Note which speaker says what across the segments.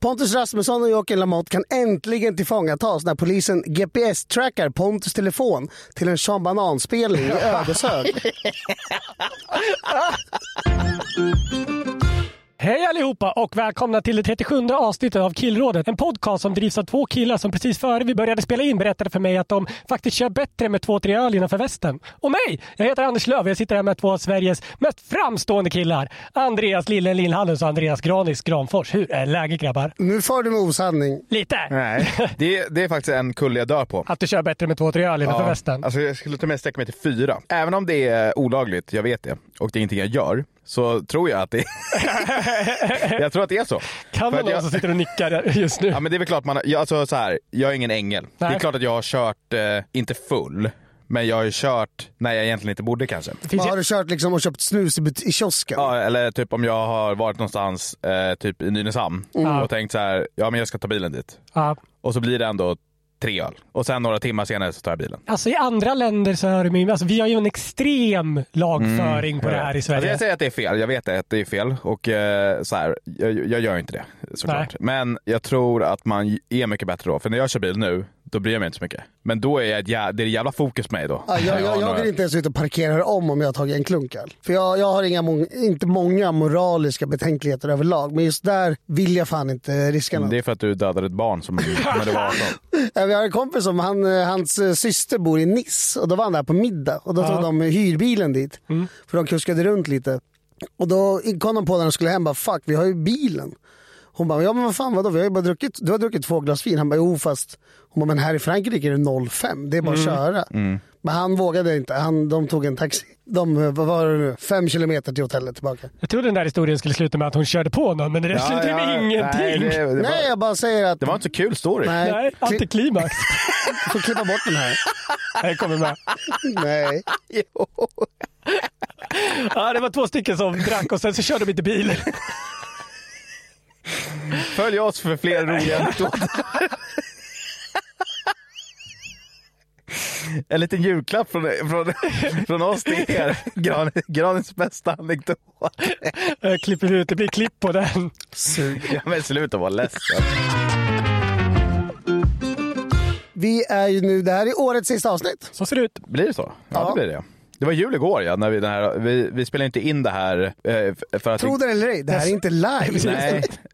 Speaker 1: Pontus Rasmusson och Joakim Lamotte kan äntligen tillfångatas när polisen GPS-trackar Pontus telefon till en Sean Banan-spelning i Ödeshög.
Speaker 2: Hej allihopa och välkomna till det 37 avsnittet av Killrådet. En podcast som drivs av två killar som precis före vi började spela in berättade för mig att de faktiskt kör bättre med två, tre öl innanför västen. Och mig! Jag heter Anders Löf och jag sitter här med två av Sveriges mest framstående killar. Andreas Lillen Lillhallens och Andreas Granis Granfors. Hur är läget grabbar?
Speaker 1: Nu far du med osanning.
Speaker 2: Lite?
Speaker 3: Nej, det, det är faktiskt en kulle jag dör på.
Speaker 2: Att du kör bättre med två, tre öl innanför
Speaker 3: Ja,
Speaker 2: västen?
Speaker 3: Alltså jag skulle till och med sträcka mig till fyra. Även om det är olagligt, jag vet det, och det är ingenting jag gör, så tror jag att det Jag tror att det är så.
Speaker 2: kan
Speaker 3: för att
Speaker 2: det vara någon
Speaker 3: jag-
Speaker 2: som sitter och nickar just nu?
Speaker 3: Ja men det är väl klart, man, har- jag, alltså, så här, jag är ingen ängel. Det
Speaker 2: Nej.
Speaker 3: är klart att jag har kört, eh, inte full, men jag har ju kört när jag egentligen inte borde kanske.
Speaker 2: Finns
Speaker 1: har
Speaker 2: det...
Speaker 1: du kört liksom och köpt snus i, but- i kiosken?
Speaker 3: Ja, eller typ om jag har varit någonstans, eh, typ i Nynäshamn,
Speaker 2: Mm.
Speaker 3: och tänkt så här, ja men jag ska ta bilen dit.
Speaker 2: ja.
Speaker 3: Och så blir det ändå tre öl. Och sen några timmar senare så tar jag bilen.
Speaker 2: Alltså i andra länder så är det min... Alltså, vi har ju en extrem lagföring på det här i
Speaker 3: Alltså
Speaker 2: Sverige.
Speaker 3: jag säger att det är fel, jag vet att det är fel och eh, så här, jag, jag gör inte det såklart. Men jag tror att man är mycket bättre då, för när jag kör bil nu, då bryr jag mig inte så mycket. Men då är jag, ett jä- det är jävla fokus på mig då.
Speaker 1: Ja, jag, jag, jag vill inte ens ut och parkera om om jag har tagit en klunk öl. För jag, jag har inga mång- inte många moraliska betänkligheter överlag. Men just där vill jag fan inte riska något.
Speaker 3: Det är för att du dödade ett barn som när du var 18.
Speaker 1: Ja, Eh, Vi har en kompis som, han, eh, hans eh, syster bor i Nice och då var han där på middag och då tog de hyrbilen dit. För de kuskade runt lite. Och då kom de på när de skulle hem bara fuck vi har ju bilen. Hon bara, ja men vad fan vadå, vi har ju bara druckit, du har druckit två glas vin. Han bara, jo fast, hon bara, men här i Frankrike är det 0,5, det är bara att köra. Men han vågade inte, han, de tog en taxi. De, eh, vad var det nu, fem kilometer till hotellet tillbaka.
Speaker 2: Jag trodde den där historien skulle sluta med att hon körde på någon, men det slutade med
Speaker 3: Nej,
Speaker 2: ingenting.
Speaker 3: det, det, var,
Speaker 1: Nej jag bara säger att,
Speaker 3: det var inte så kul story.
Speaker 1: nej,
Speaker 2: Nej,
Speaker 1: kli,
Speaker 2: antiklimax.
Speaker 1: får klippa bort den här.
Speaker 2: Jag kommer med.
Speaker 1: nej.
Speaker 2: Ja, det var två stycken som drack och sen så körde de inte bil.
Speaker 3: Följ oss för fler roliga anekdoter. En liten julklapp från, från, från oss till er. Gran, granens bästa anekdot.
Speaker 2: Jag klipper ut, det blir klipp på den.
Speaker 3: Ja, men sluta vara ledsen.
Speaker 1: Vi är ju nu, det här är årets sista avsnitt.
Speaker 2: Så ser det ut.
Speaker 3: Blir det så? Ja,
Speaker 1: Ja.
Speaker 3: det blir det. Det var jul igår ja, när vi, den här, vi, vi spelade inte in det här eh, f- för att...
Speaker 1: Tro det eller ej, det här är inte live.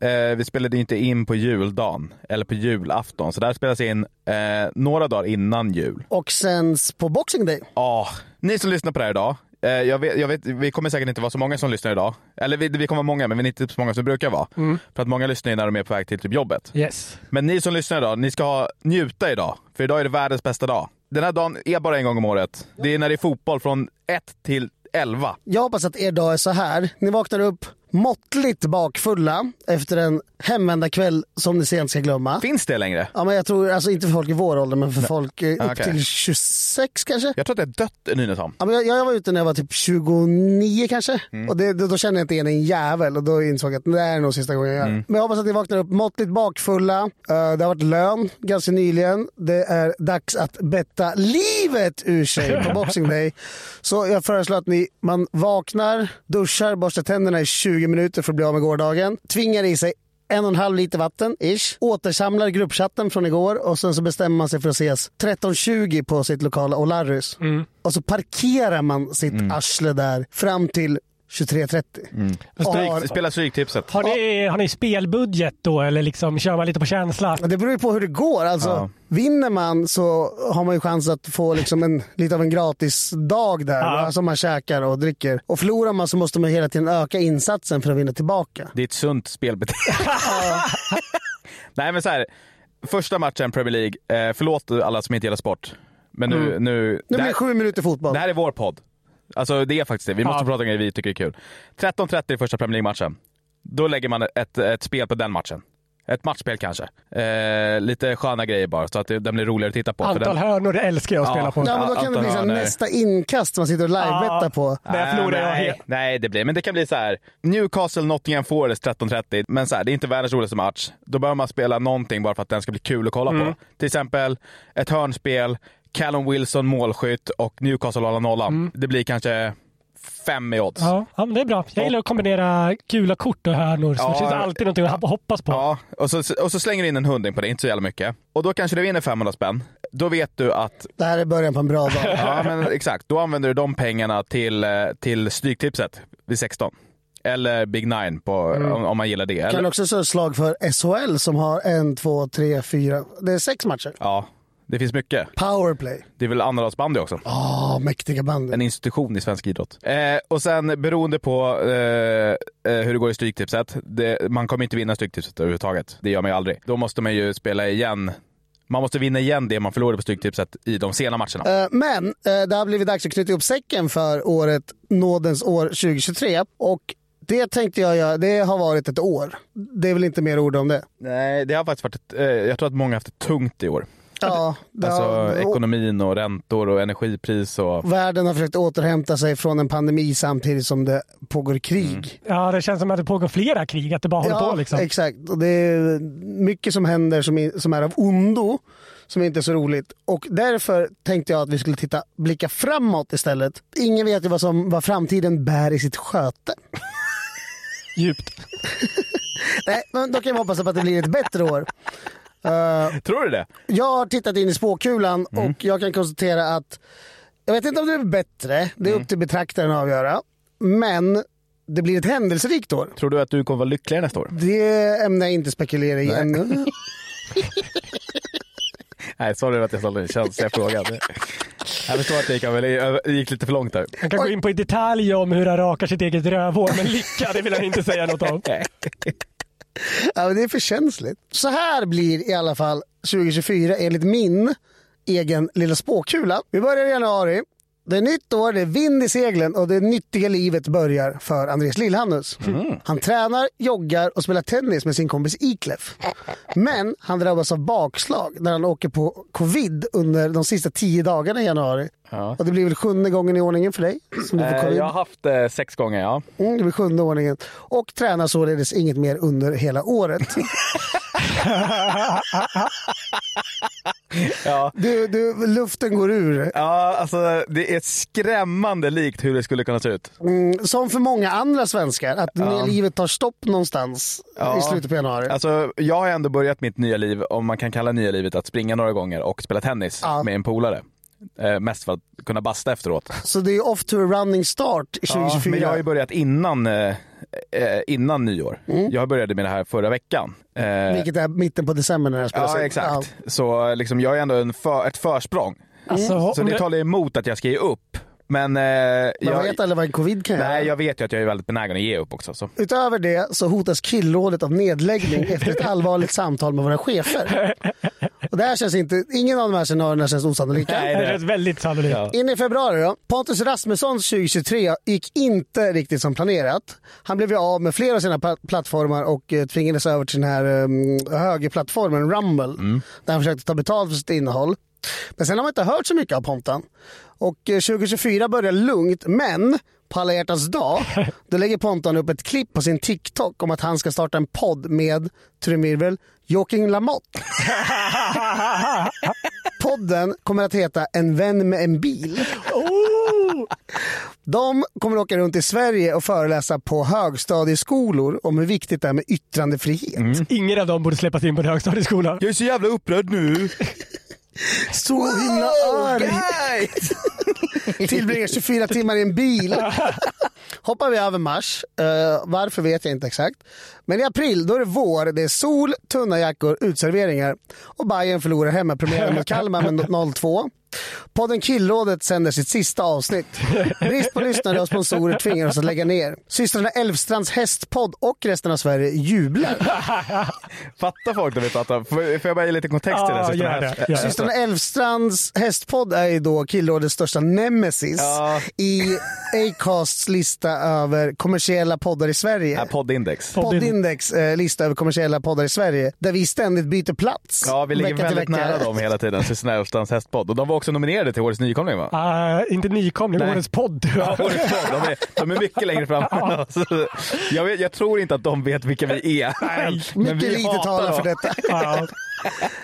Speaker 3: Nej, eh, vi spelade inte in på juldagen eller på julafton. Så det här spelas in eh, några dagar innan jul.
Speaker 1: och sänds på Boxing Day.
Speaker 3: Ja, ni som lyssnar på det här idag. Eh, jag vet, jag vet, vi kommer säkert inte vara så många som lyssnar idag. Eller vi, vi kommer vara många, men vi är inte typ så många som brukar vara. För att många lyssnar ju när de är på väg till typ jobbet.
Speaker 2: Yes.
Speaker 3: Men ni som lyssnar idag, ni ska ha, njuta idag. För idag är det världens bästa dag. Den här dagen är bara en gång om året. Det är när det är fotboll från 1 till 11.
Speaker 1: Jag hoppas att er dag är så här. Ni vaknar upp måttligt bakfulla efter en hemvändarkväll som ni sent ska glömma.
Speaker 3: Finns det längre?
Speaker 1: Ja, men jag tror, alltså inte för folk i vår ålder, men för folk eh, upp
Speaker 3: Ah, Okej.
Speaker 1: till 26 kanske.
Speaker 3: Jag tror att det är dött i Nynäshamn.
Speaker 1: Ja, men jag, jag var ute när jag var typ 29 kanske. Och det, då, då kände jag inte igen en jävel och då insåg jag att det här är nog sista gången jag gör det. Men jag hoppas att ni vaknar upp måttligt bakfulla. Eh, det har varit lön ganska nyligen. Det är dags att betta livet ur sig på Boxing Day. Så jag föreslår att ni, man vaknar, duschar, borstar tänderna i 20 minuter för att bli av med gårdagen. Tvingar i sig en och en halv liter vatten, ish. Återsamlar gruppchatten från igår och sen så bestämmer man sig för att ses 13.20
Speaker 3: Mm.
Speaker 1: på sitt lokala O'Larrys. Och så parkerar man sitt arsle där fram till 23.30.
Speaker 3: Stryk,
Speaker 1: Har-
Speaker 3: spela Stryktipset.
Speaker 2: Har ni, har ni spelbudget då eller liksom kör man lite på känsla?
Speaker 1: Men Det beror ju på hur det går. Alltså,
Speaker 3: Ja.
Speaker 1: Vinner man så har man ju chans att få liksom en, lite av en gratis dag där va, som man käkar och dricker. Och förlorar man så måste man hela tiden öka insatsen för att vinna tillbaka.
Speaker 3: Det är ett sunt spelbeteende. Nej men så här. Första matchen Premier League. Eh, förlåt alla som inte gillar sport. Men nu... Nu,
Speaker 1: Nu
Speaker 3: det
Speaker 1: blir
Speaker 3: här-
Speaker 1: det sju minuter fotboll.
Speaker 3: Det här är vår podd. Alltså det är faktiskt det. Vi måste prata om grejer vi tycker är kul. 13.30 i första Premier League-matchen. Då lägger man ett, ett spel på den matchen. Ett matchspel kanske. Eh, lite sköna grejer bara så att det, den blir roligare att titta på. för
Speaker 2: Antal
Speaker 3: den,
Speaker 2: hörnor älskar jag att
Speaker 3: Ja.
Speaker 2: spela på.
Speaker 1: Ja, men då kan
Speaker 3: Anton
Speaker 1: det bli så här
Speaker 3: Hörner.
Speaker 1: nästa inkast man sitter och livebettar på.
Speaker 2: Där förlorar jag
Speaker 3: Äh, nej,
Speaker 2: helt.
Speaker 3: nej, det blir, men det kan bli så här. Newcastle Nottingham Forest 13.30, men så här, det är inte världens roligaste match. Då bör man spela någonting bara för att den ska bli kul att kolla
Speaker 2: Mm.
Speaker 3: på. Till exempel ett hörnspel, Callum Wilson målskytt och Newcastle håller nollan.
Speaker 2: Mm.
Speaker 3: Det blir kanske fem i odds.
Speaker 2: Ja, ja men det är bra. Jag gillar att kombinera kula kort och hörnor. Så
Speaker 3: Ja.
Speaker 2: det finns alltid någonting att hoppas på.
Speaker 3: Ja, och så, och så slänger du in en hundring på det, inte så jävla mycket. Och då kanske du vinner 500 spänn. Då vet du att,
Speaker 1: Det här är början på en bra dag.
Speaker 3: ja men exakt, då använder du de pengarna till, eh, till Stryktipset vid 16. Eller Big Nine på, om, om man gillar det.
Speaker 1: Kan
Speaker 3: Eller,
Speaker 1: också slå ett slag för SHL som har en, två, tre, fyra. Det är sex matcher.
Speaker 3: ja, det finns mycket.
Speaker 1: Powerplay.
Speaker 3: Det är väl annandagsbandy också.
Speaker 1: Åh, mäktiga bandet.
Speaker 3: En institution i svensk idrott. Eh, och sen beroende på eh, eh, hur det går i Stryktipset, det, man kommer inte vinna Stryktipset överhuvudtaget. Det gör man ju aldrig. Då måste man ju spela igen. Man måste vinna igen det man förlorade på Stryktipset i de sena matcherna.
Speaker 1: Eh, Men eh, det har blivit dags att knyta ihop säcken för året nådens år 2023. Och det tänkte jag göra. Det har varit ett år. Det är väl inte mer ord om det.
Speaker 3: Nej, det har faktiskt varit ett, eh, jag tror att många har haft det tungt i år.
Speaker 1: Ja, det
Speaker 3: Alltså
Speaker 1: har,
Speaker 3: ekonomin och räntor och energipris och...
Speaker 1: Världen har försökt återhämta sig från en pandemi samtidigt som det pågår krig.
Speaker 2: Ja, det känns som att det pågår flera krig, att det bara håller på liksom.
Speaker 1: Exakt, och det är mycket som händer som är, som är av ondo som inte är så roligt. Och därför tänkte jag att vi skulle titta, blicka framåt istället. Ingen vet ju vad, som, vad framtiden bär i sitt sköte.
Speaker 2: Djupt.
Speaker 1: Nej, men då kan vi hoppas på att det blir ett bättre år. Eh,
Speaker 3: Tror du det?
Speaker 1: Jag har tittat in i spåkulan
Speaker 2: Mm.
Speaker 1: och jag kan konstatera att jag vet inte om det blir bättre, det är
Speaker 2: Mm.
Speaker 1: upp till betraktaren att avgöra. Men det blir ett händelserikt år.
Speaker 3: Tror du att du kommer vara lyckligare nästa år?
Speaker 1: Det ämnar jag inte spekulera i ännu.
Speaker 3: Nej, sorry att jag ställde en känslig fråga. Jag förstår att det gick, över- det gick lite för långt där.
Speaker 2: Han kan gå in på i detalj om hur han rakar sitt eget rövhår, men lycka, det vill han inte säga något om.
Speaker 1: Ja, men det är för känsligt. Så här blir i alla fall 2024 enligt min egen lilla spåkula. Vi börjar i januari. Det är nytt år, det är vind i seglen och det nyttiga livet börjar för Andreas Lillhannes.
Speaker 3: Mm.
Speaker 1: Han tränar, joggar och spelar tennis med sin kompis Iklef. Men han drabbas av bakslag när han åker på covid under de sista tio dagarna i januari. Och det blir väl sjunde gången i ordningen för dig som du får
Speaker 3: Eh,
Speaker 1: covid.
Speaker 3: Jag har haft eh, sex gånger, ja.
Speaker 1: Mm, det blir sjunde ordningen. Och tränar således inget mer under hela året.
Speaker 3: Ja.
Speaker 1: Du, du, luften går ur.
Speaker 3: Ja, alltså det är skrämmande likt hur det skulle kunna se ut.
Speaker 1: Mm, Som för många andra svenskar, att när livet tar stopp någonstans i slutet på januari.
Speaker 3: Alltså, jag har ändå börjat mitt nya liv, om man kan kalla nya livet att springa några gånger och spela tennis
Speaker 1: Ja.
Speaker 3: med en polare. Eh, mest för att kunna basta efteråt.
Speaker 1: Så det är off to a running start i
Speaker 3: Ja, men
Speaker 1: 2024.
Speaker 3: jag har ju börjat innan, eh, eh, innan nyår. Jag började med det här förra veckan. Eh,
Speaker 1: Vilket är mitten på december när det här spelas
Speaker 3: ja,
Speaker 1: in.
Speaker 3: exakt. Så liksom, jag är ändå en för, ett försprång.
Speaker 2: Alltså,
Speaker 3: Så
Speaker 2: om
Speaker 3: det
Speaker 2: det-
Speaker 3: talar emot att jag ska ge upp. Men, eh,
Speaker 1: Man
Speaker 3: jag,
Speaker 1: vet aldrig vad en covid kan göra.
Speaker 3: nej, jag vet ju att jag är väldigt benägen att ge upp också. Så.
Speaker 1: Utöver det så hotas killrådet av nedläggning efter ett allvarligt samtal med våra chefer. Och det här känns inte, ingen av de här scenarierna känns osannolika.
Speaker 3: Nej,
Speaker 2: det är väldigt sannolikt.
Speaker 3: Ja.
Speaker 1: In i februari då. Pontus Rasmussons 2023 gick inte riktigt som planerat. Han blev ju av med flera av sina pla- plattformar och eh, tvingades över till den här um, högerplattformen Rumble. Där han försökte ta betalt för sitt innehåll. Men sen har man inte hört så mycket av Pontan. Och eh, 2024 börjar lugnt, men på alla hjärtans dag då lägger Pontan upp ett klipp på sin TikTok om att han ska starta en podd med, trumvirvel, Joakim Lamotte. Podden kommer att heta En vän med en bil. De kommer att åka runt i Sverige och föreläsa på högstadieskolor om hur viktigt det är med yttrandefrihet.
Speaker 2: Ingen av dem borde släppas in på en högstadieskola.
Speaker 3: Jag är så jävla upprörd nu.
Speaker 1: Så himla arg!
Speaker 3: Guys!
Speaker 1: tillbringar 24 timmar i en bil. Hoppar vi över mars, eh, varför vet jag inte exakt. Men i april då är det vår, det är sol, tunna jackor, utserveringar och Bayern förlorar hemmapremiären mot Kalmar med 0-2. Podden Killrådet sänder sitt sista avsnitt. Brist på lyssnare och sponsorer tvingar oss att lägga ner. Systrarna Elfstrands hästpodd och resten av Sverige jublar.
Speaker 3: Fattar folk när vi pratar? Får får jag bara ge lite kontext till
Speaker 2: Ja,
Speaker 3: det? så att
Speaker 2: gör
Speaker 3: de här-
Speaker 2: det, gör det.
Speaker 1: Systrarna Elfstrands hästpodd är ju då Killrådets största nemesis
Speaker 3: Ja.
Speaker 1: i Acasts lista över kommersiella poddar i Sverige.
Speaker 3: Ja, Poddindex.
Speaker 1: Poddindex eh, lista över kommersiella poddar i Sverige där vi ständigt byter plats.
Speaker 3: Ja, vi ligger
Speaker 1: vecka till
Speaker 3: väldigt
Speaker 1: vecka.
Speaker 3: nära dem hela tiden, Systrarna Elfstrands hästpodd. Och de var också nominerade till Årets nykomling va?
Speaker 2: Ah, inte nykomling,
Speaker 3: Nej.
Speaker 2: årets podd.
Speaker 3: Ja, Årets podd. De är, de är mycket längre fram än oss. Jag, vet, jag tror inte att de vet vilka vi är. Men
Speaker 1: Mycket
Speaker 3: vi
Speaker 1: lite
Speaker 3: hatar
Speaker 1: talar
Speaker 3: dem.
Speaker 1: för detta.
Speaker 2: Ja.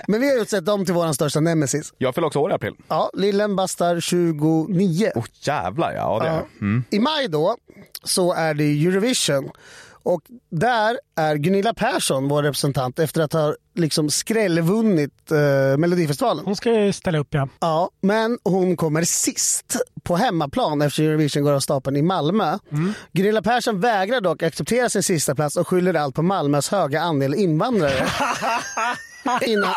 Speaker 1: Men vi har utsett dem till vår största nemesis.
Speaker 3: Jag fyller också år i april.
Speaker 1: Ja, Lillen bastar 29.
Speaker 3: Oh, jävlar ja. ja, det är. jag.
Speaker 1: I maj då så är det Eurovision. Och där är Gunilla Persson vår representant efter att ha liksom skrällvunnit eh, Melodifestivalen.
Speaker 2: Hon ska ju ställa upp ja.
Speaker 1: Ja, men hon kommer sist på hemmaplan efter Eurovision går av stapeln i Malmö. Gunilla Persson vägrar dock acceptera sin sista plats och skyller allt på Malmös höga andel invandrare. innan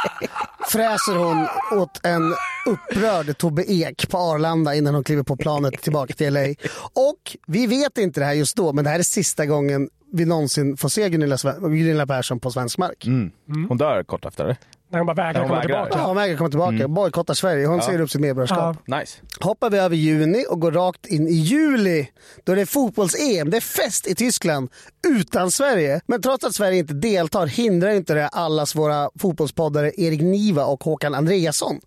Speaker 1: fräser hon åt en upprörd Tobbe Ek på Arlanda innan hon kliver på planet tillbaka till LA. Och vi vet inte det här just då, men det här är sista gången vi någonsin får se Gunilla, Sve- Gunilla Persson på svensk mark.
Speaker 3: Mm. Hon dör kort efter. eller?
Speaker 2: När hon bara vägrar
Speaker 3: Hon
Speaker 2: komma
Speaker 3: vägrar.
Speaker 2: tillbaka.
Speaker 1: Ja, hon vägrar komma tillbaka. Bojkottar Sverige. Hon säger upp sitt medborgarskap.
Speaker 2: Ja.
Speaker 3: Nice.
Speaker 1: hoppar vi över juni och går rakt in i juli. Då är det fotbolls-EM. Det är fest i Tyskland utan Sverige. Men trots att Sverige inte deltar hindrar inte det allas våra fotbollspoddare Erik Niva och Håkan Andreasson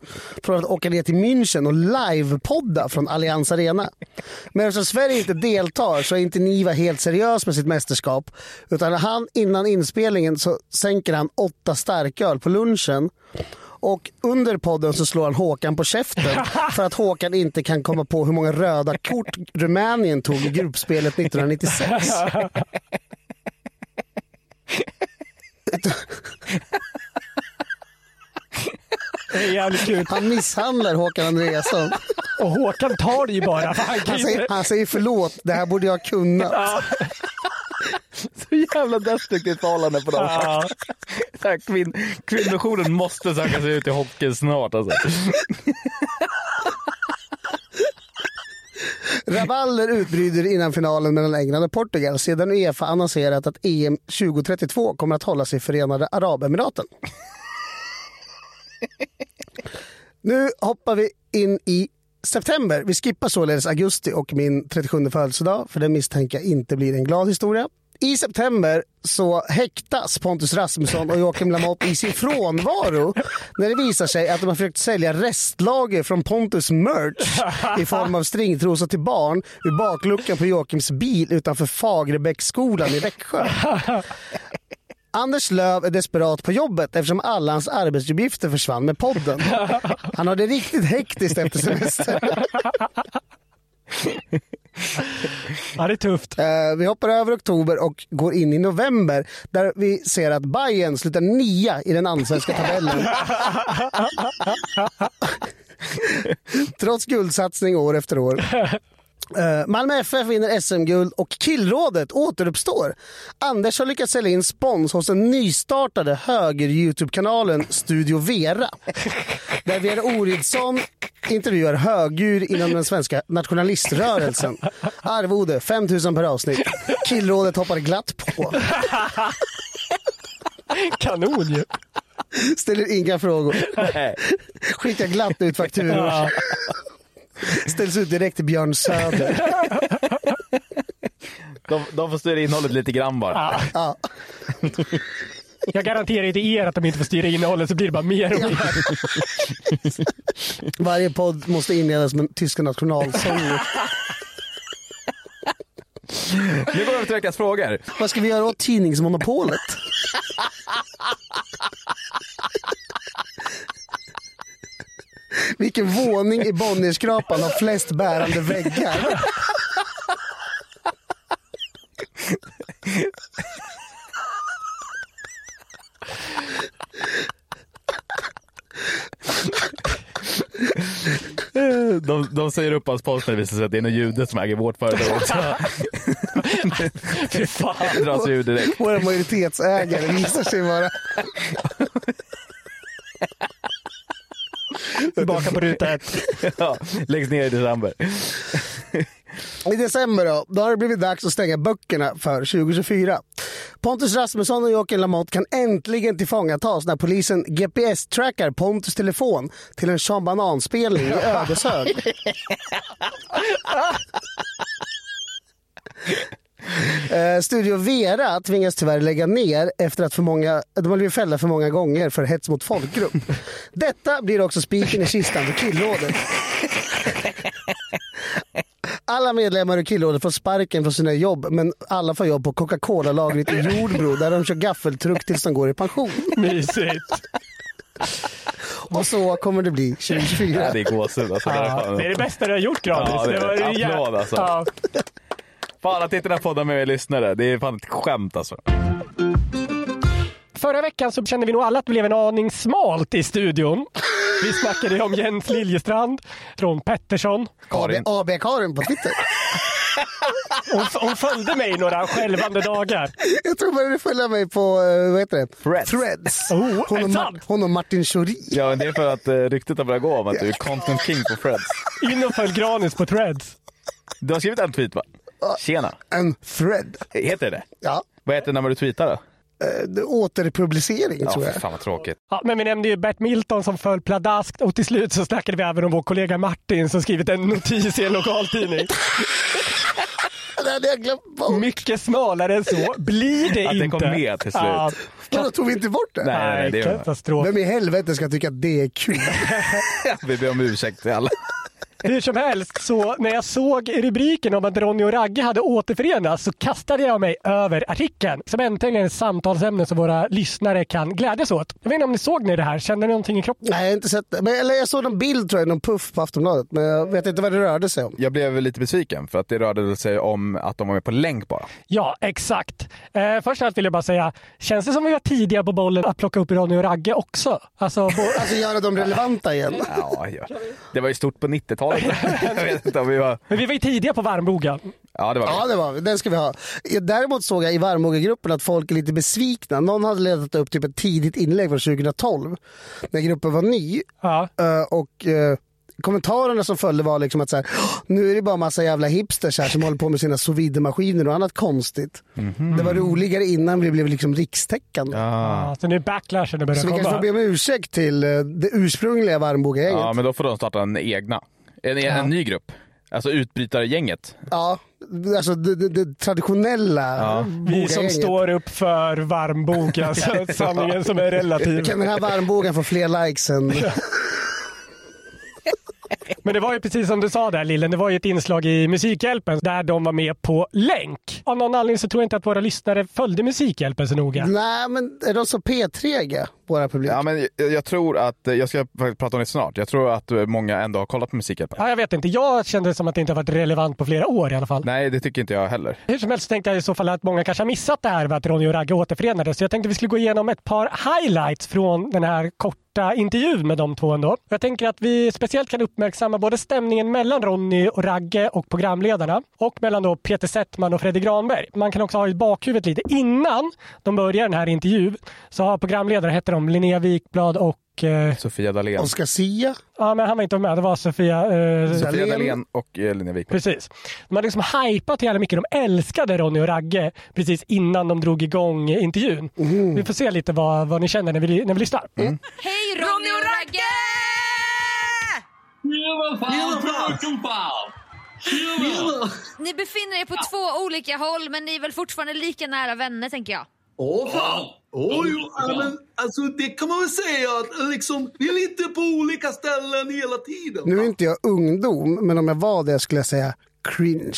Speaker 1: från att åka ner till München och livepodda från Allianz Arena. Men eftersom Sverige inte deltar så är inte Niva helt seriös med sitt mästerskap. Utan han, innan inspelningen så sänker han åtta starköl på lunchen och under podden så slår han Håkan på käften för att Håkan inte kan komma på hur många röda kort Rumänien tog i gruppspelet 1996.
Speaker 2: Det är jävligt kul.
Speaker 1: Han misshandlar Håkan Andreasson.
Speaker 2: Och Håkan tar det ju bara. För han kan ju
Speaker 1: Han
Speaker 3: Alltså,
Speaker 2: inte...
Speaker 1: säger, han säger förlåt, det här borde jag kunna.
Speaker 3: Så jävla destruktivt förhållande på dem.
Speaker 2: Ja.
Speaker 3: Så här, Kvinn, kvinnojouren måste söka sig ut i hockey snart alltså.
Speaker 1: Raballer utbryter innan finalen mellan England och Portugal sedan Uefa annonserat att EM 2032 kommer att hållas i Förenade Arabemiraten. Nu hoppar vi in i september. Vi skippar således augusti och min 37 födelsedag, för den misstänker jag inte blir en glad historia. I september så häktas Pontus Rasmusson och Joakim Lamotte i sin frånvaro när det visar sig att de har försökt sälja restlager från Pontus merch i form av stringtrosor till barn ur bakluckan på Joakims bil utanför Fagerbäcksskolan i Växjö. Anders Löv är desperat på jobbet eftersom alla hans arbetsuppgifter försvann med podden. Han har det riktigt hektiskt efter semestern.
Speaker 2: Ja, det är tufft.
Speaker 1: Eh, vi hoppar över oktober och går in i november där vi ser att Bayern slutar nia i den allsvenska tabellen. Trots guldsatsning år efter år. Eh, Malmö FF vinner SM-guld och killrådet återuppstår. Anders har lyckats sälja in spons hos den nystartade höger-Youtube-kanalen Studio Vera. Där Vera Oridsson intervjuar högur inom den svenska nationaliströrelsen. Arvode 5 000 per avsnitt. Killrådet hoppar glatt på.
Speaker 2: Kanon ju.
Speaker 1: Ställer inga frågor. Skickar glatt ut fakturor. Ställs ut direkt till Björn Söder.
Speaker 3: De, de får styra innehållet lite grann bara.
Speaker 1: Ja.
Speaker 2: Jag garanterar ju till er att de inte får styra innehållet så blir det bara mer och mer.
Speaker 1: Varje podd måste inledas med tyska nationalsånger.
Speaker 3: Nu går vi över till veckans frågor.
Speaker 1: Vad ska vi göra åt tidningsmonopolet? Vilken våning i Bonnierskrapan har flest bärande väggar?
Speaker 3: de, de säger upp hans post när det visar sig att det är någon jude som äger vårt företag också.
Speaker 2: Fy fan.
Speaker 3: Han dras ju direkt.
Speaker 1: Våra majoritetsägare visar sig vara...
Speaker 2: Tillbaka på ruta ett.
Speaker 3: Ja, läggs ner i december.
Speaker 1: I december då, då har det blivit dags att stänga böckerna för 2024. Pontus Rasmusson och Joakim Lamotte kan äntligen tillfångatas när polisen GPS-trackar Pontus telefon till en Sean Banan-spelning i Ödeshög. Eh, Studio Vera tvingas tyvärr lägga ner efter att för många, de har blivit fällda för många gånger för hets mot folkgrupp. Detta blir också spiken i kistan för killrådet. Alla medlemmar i killrådet får sparken från sina jobb men alla får jobb på Coca-Cola-lagret i Jordbro där de kör gaffeltruck tills de går i pension.
Speaker 2: Mysigt.
Speaker 1: Och så kommer det bli 2024.
Speaker 3: Ja, det är gåshud alltså. Det är fan-
Speaker 2: Det är det bästa du har gjort Granis.
Speaker 3: Ja, det är
Speaker 2: var
Speaker 3: det.
Speaker 2: ju jä-
Speaker 3: Applåd, alltså.
Speaker 2: Ja.
Speaker 3: Fan att inte den här podden med mig lyssnare. Det är fan ett skämt alltså.
Speaker 2: Förra veckan så kände vi nog alla att det blev en aning smalt i studion. Vi snackade ju om Jens Liljestrand från Pettersson.
Speaker 1: AB- AB-Karin på Twitter.
Speaker 2: Hon, hon följde mig i några skälvande dagar.
Speaker 1: Jag tror började följa mig på eh, vad heter det?
Speaker 3: Threads.
Speaker 2: Oh,
Speaker 1: Hon,
Speaker 2: är
Speaker 1: och
Speaker 2: det
Speaker 1: Mar-
Speaker 2: sant?
Speaker 1: hon och Martin Schori.
Speaker 3: Ja, men det är för att eh, ryktet har börjat gå om att du är content king på Freds.
Speaker 2: In och följ Granis på Threads.
Speaker 3: Du har skrivit en tweet va? Tjena.
Speaker 1: En thread.
Speaker 3: Heter det det
Speaker 1: Ja. eh,
Speaker 3: Vad heter det när du tweetar då?
Speaker 1: Det- Återpublicering tror
Speaker 3: Ja,
Speaker 1: jag.
Speaker 3: fy fan vad tråkigt.
Speaker 2: Ja, men vi nämnde ju Bert Milton som föll pladaskt och till slut så snackade vi även om vår kollega Martin som skrivit en notis i en lokaltidning.
Speaker 1: Det hade jag glömt bort.
Speaker 2: Mycket smalare än så blir det
Speaker 3: Att det
Speaker 2: inte.
Speaker 3: kom med till slut.
Speaker 2: Ja,
Speaker 1: Vadå, tog vi inte bort det?
Speaker 3: Nej, nej,
Speaker 2: nej,
Speaker 3: det gör jag inte.
Speaker 2: katastrof.
Speaker 1: Vem i helvete ska tycka att det är kul?
Speaker 3: Vi ber om ursäkt till alla.
Speaker 2: Hur som helst, så när jag såg rubriken om att Ronny och Ragge hade återförenats så kastade jag mig över artikeln som äntligen är ett samtalsämne som våra lyssnare kan glädjas åt. Jag vet inte om ni såg ni det här? Kände ni någonting i kroppen?
Speaker 1: Nej, jag har inte sett det. Men, eller jag såg någon bild tror jag, någon puff på Aftonbladet. Men jag vet inte vad det rörde sig om.
Speaker 3: Jag blev lite besviken för att det rörde sig om att de var med på länk bara.
Speaker 2: Ja, exakt. Eh, först och allt vill jag bara säga, känns det som vi var tidiga på bollen att plocka upp Ronny och Ragge också? Alltså, på,
Speaker 1: Alltså göra dem relevanta igen.
Speaker 3: Ja, ja. Det var ju stort på 90-talet. Jag vet inte om vi var...
Speaker 2: men vi var ju tidiga på varmbogen.
Speaker 3: Ja, det var vi.
Speaker 1: Ja, det var Den ska vi ha. Däremot såg jag i Varmhågegruppen att folk är lite besvikna. Någon hade letat upp typ ett tidigt inlägg från 2012 när gruppen var ny.
Speaker 2: Ja.
Speaker 1: Eh, och eh, kommentarerna som följde var liksom att så här, "Åh, nu är det bara massa jävla hipsters här som håller på med sina sous vide-maskiner och annat konstigt. Det var roligare innan vi blev liksom rikstäckande.
Speaker 2: Ja, så nu är backlashen det
Speaker 1: Så
Speaker 2: börjar
Speaker 1: vi kanske får
Speaker 2: komma.
Speaker 1: be om ursäkt till eh, det ursprungliga Varmbogagänget.
Speaker 3: Ja,
Speaker 1: Ja,
Speaker 3: men då får de starta en egna. En, en, en ny grupp. Alltså utbrytargänget.
Speaker 1: alltså det, det, det traditionella ja.
Speaker 2: Vi som står upp för varmbogen, alltså, sanningen som är relativ.
Speaker 1: Kan den här varmbogen få fler likes än...
Speaker 2: Men det var ju precis som du sa där Lillen, det var ju ett inslag i Musikhjälpen där de var med på länk. Av någon anledning så tror jag inte att våra lyssnare följde Musikhjälpen så noga.
Speaker 1: Nej, men är de så P3 våra publik?
Speaker 3: Ja, men jag, jag tror att, jag ska faktiskt prata om det snart, jag tror att eh, många ändå har kollat på Musikhjälpen.
Speaker 2: Ja, jag vet inte, jag kände det som att det inte har varit relevant på flera år i alla fall.
Speaker 3: Nej, det tycker inte jag heller.
Speaker 2: Hur som helst så tänkte jag i så fall att många kanske har missat det här med att Ronny och Ragge återförenades. Så jag tänkte vi skulle gå igenom ett par highlights från den här korta intervjun med de två ändå. Jag tänker att vi speciellt kan uppmärksamma både stämningen mellan Ronny och Ragge och programledarna och mellan då Peter Settman och Fredrik Granberg. Man kan också ha i bakhuvudet lite innan de börjar den här intervjun så har programledare hette de Linnea Wikblad och eh,
Speaker 3: Sofia Dalén.
Speaker 1: Oscar Sia?
Speaker 2: ja men han var inte med, det var Sofia eh,
Speaker 3: Sofia
Speaker 1: Dalén.
Speaker 3: Dalén och eh, Linnea Wikman.
Speaker 2: Precis. De hade liksom hypat jävla mycket. De älskade Ronny och Ragge precis innan de drog igång intervjun.
Speaker 3: Mm.
Speaker 2: Vi får se lite vad, vad ni känner när vi, när vi lyssnar.
Speaker 4: Hej Ronny och Ragge! Ni befinner er på två olika håll men ni är väl fortfarande lika nära vänner tänker jag.
Speaker 5: Åh fan! Oj, ja, men, alltså, det kan man väl säga att liksom, vi är lite på olika ställen hela tiden.
Speaker 1: Nu är inte jag ungdom, men om jag var det skulle jag säga cringe.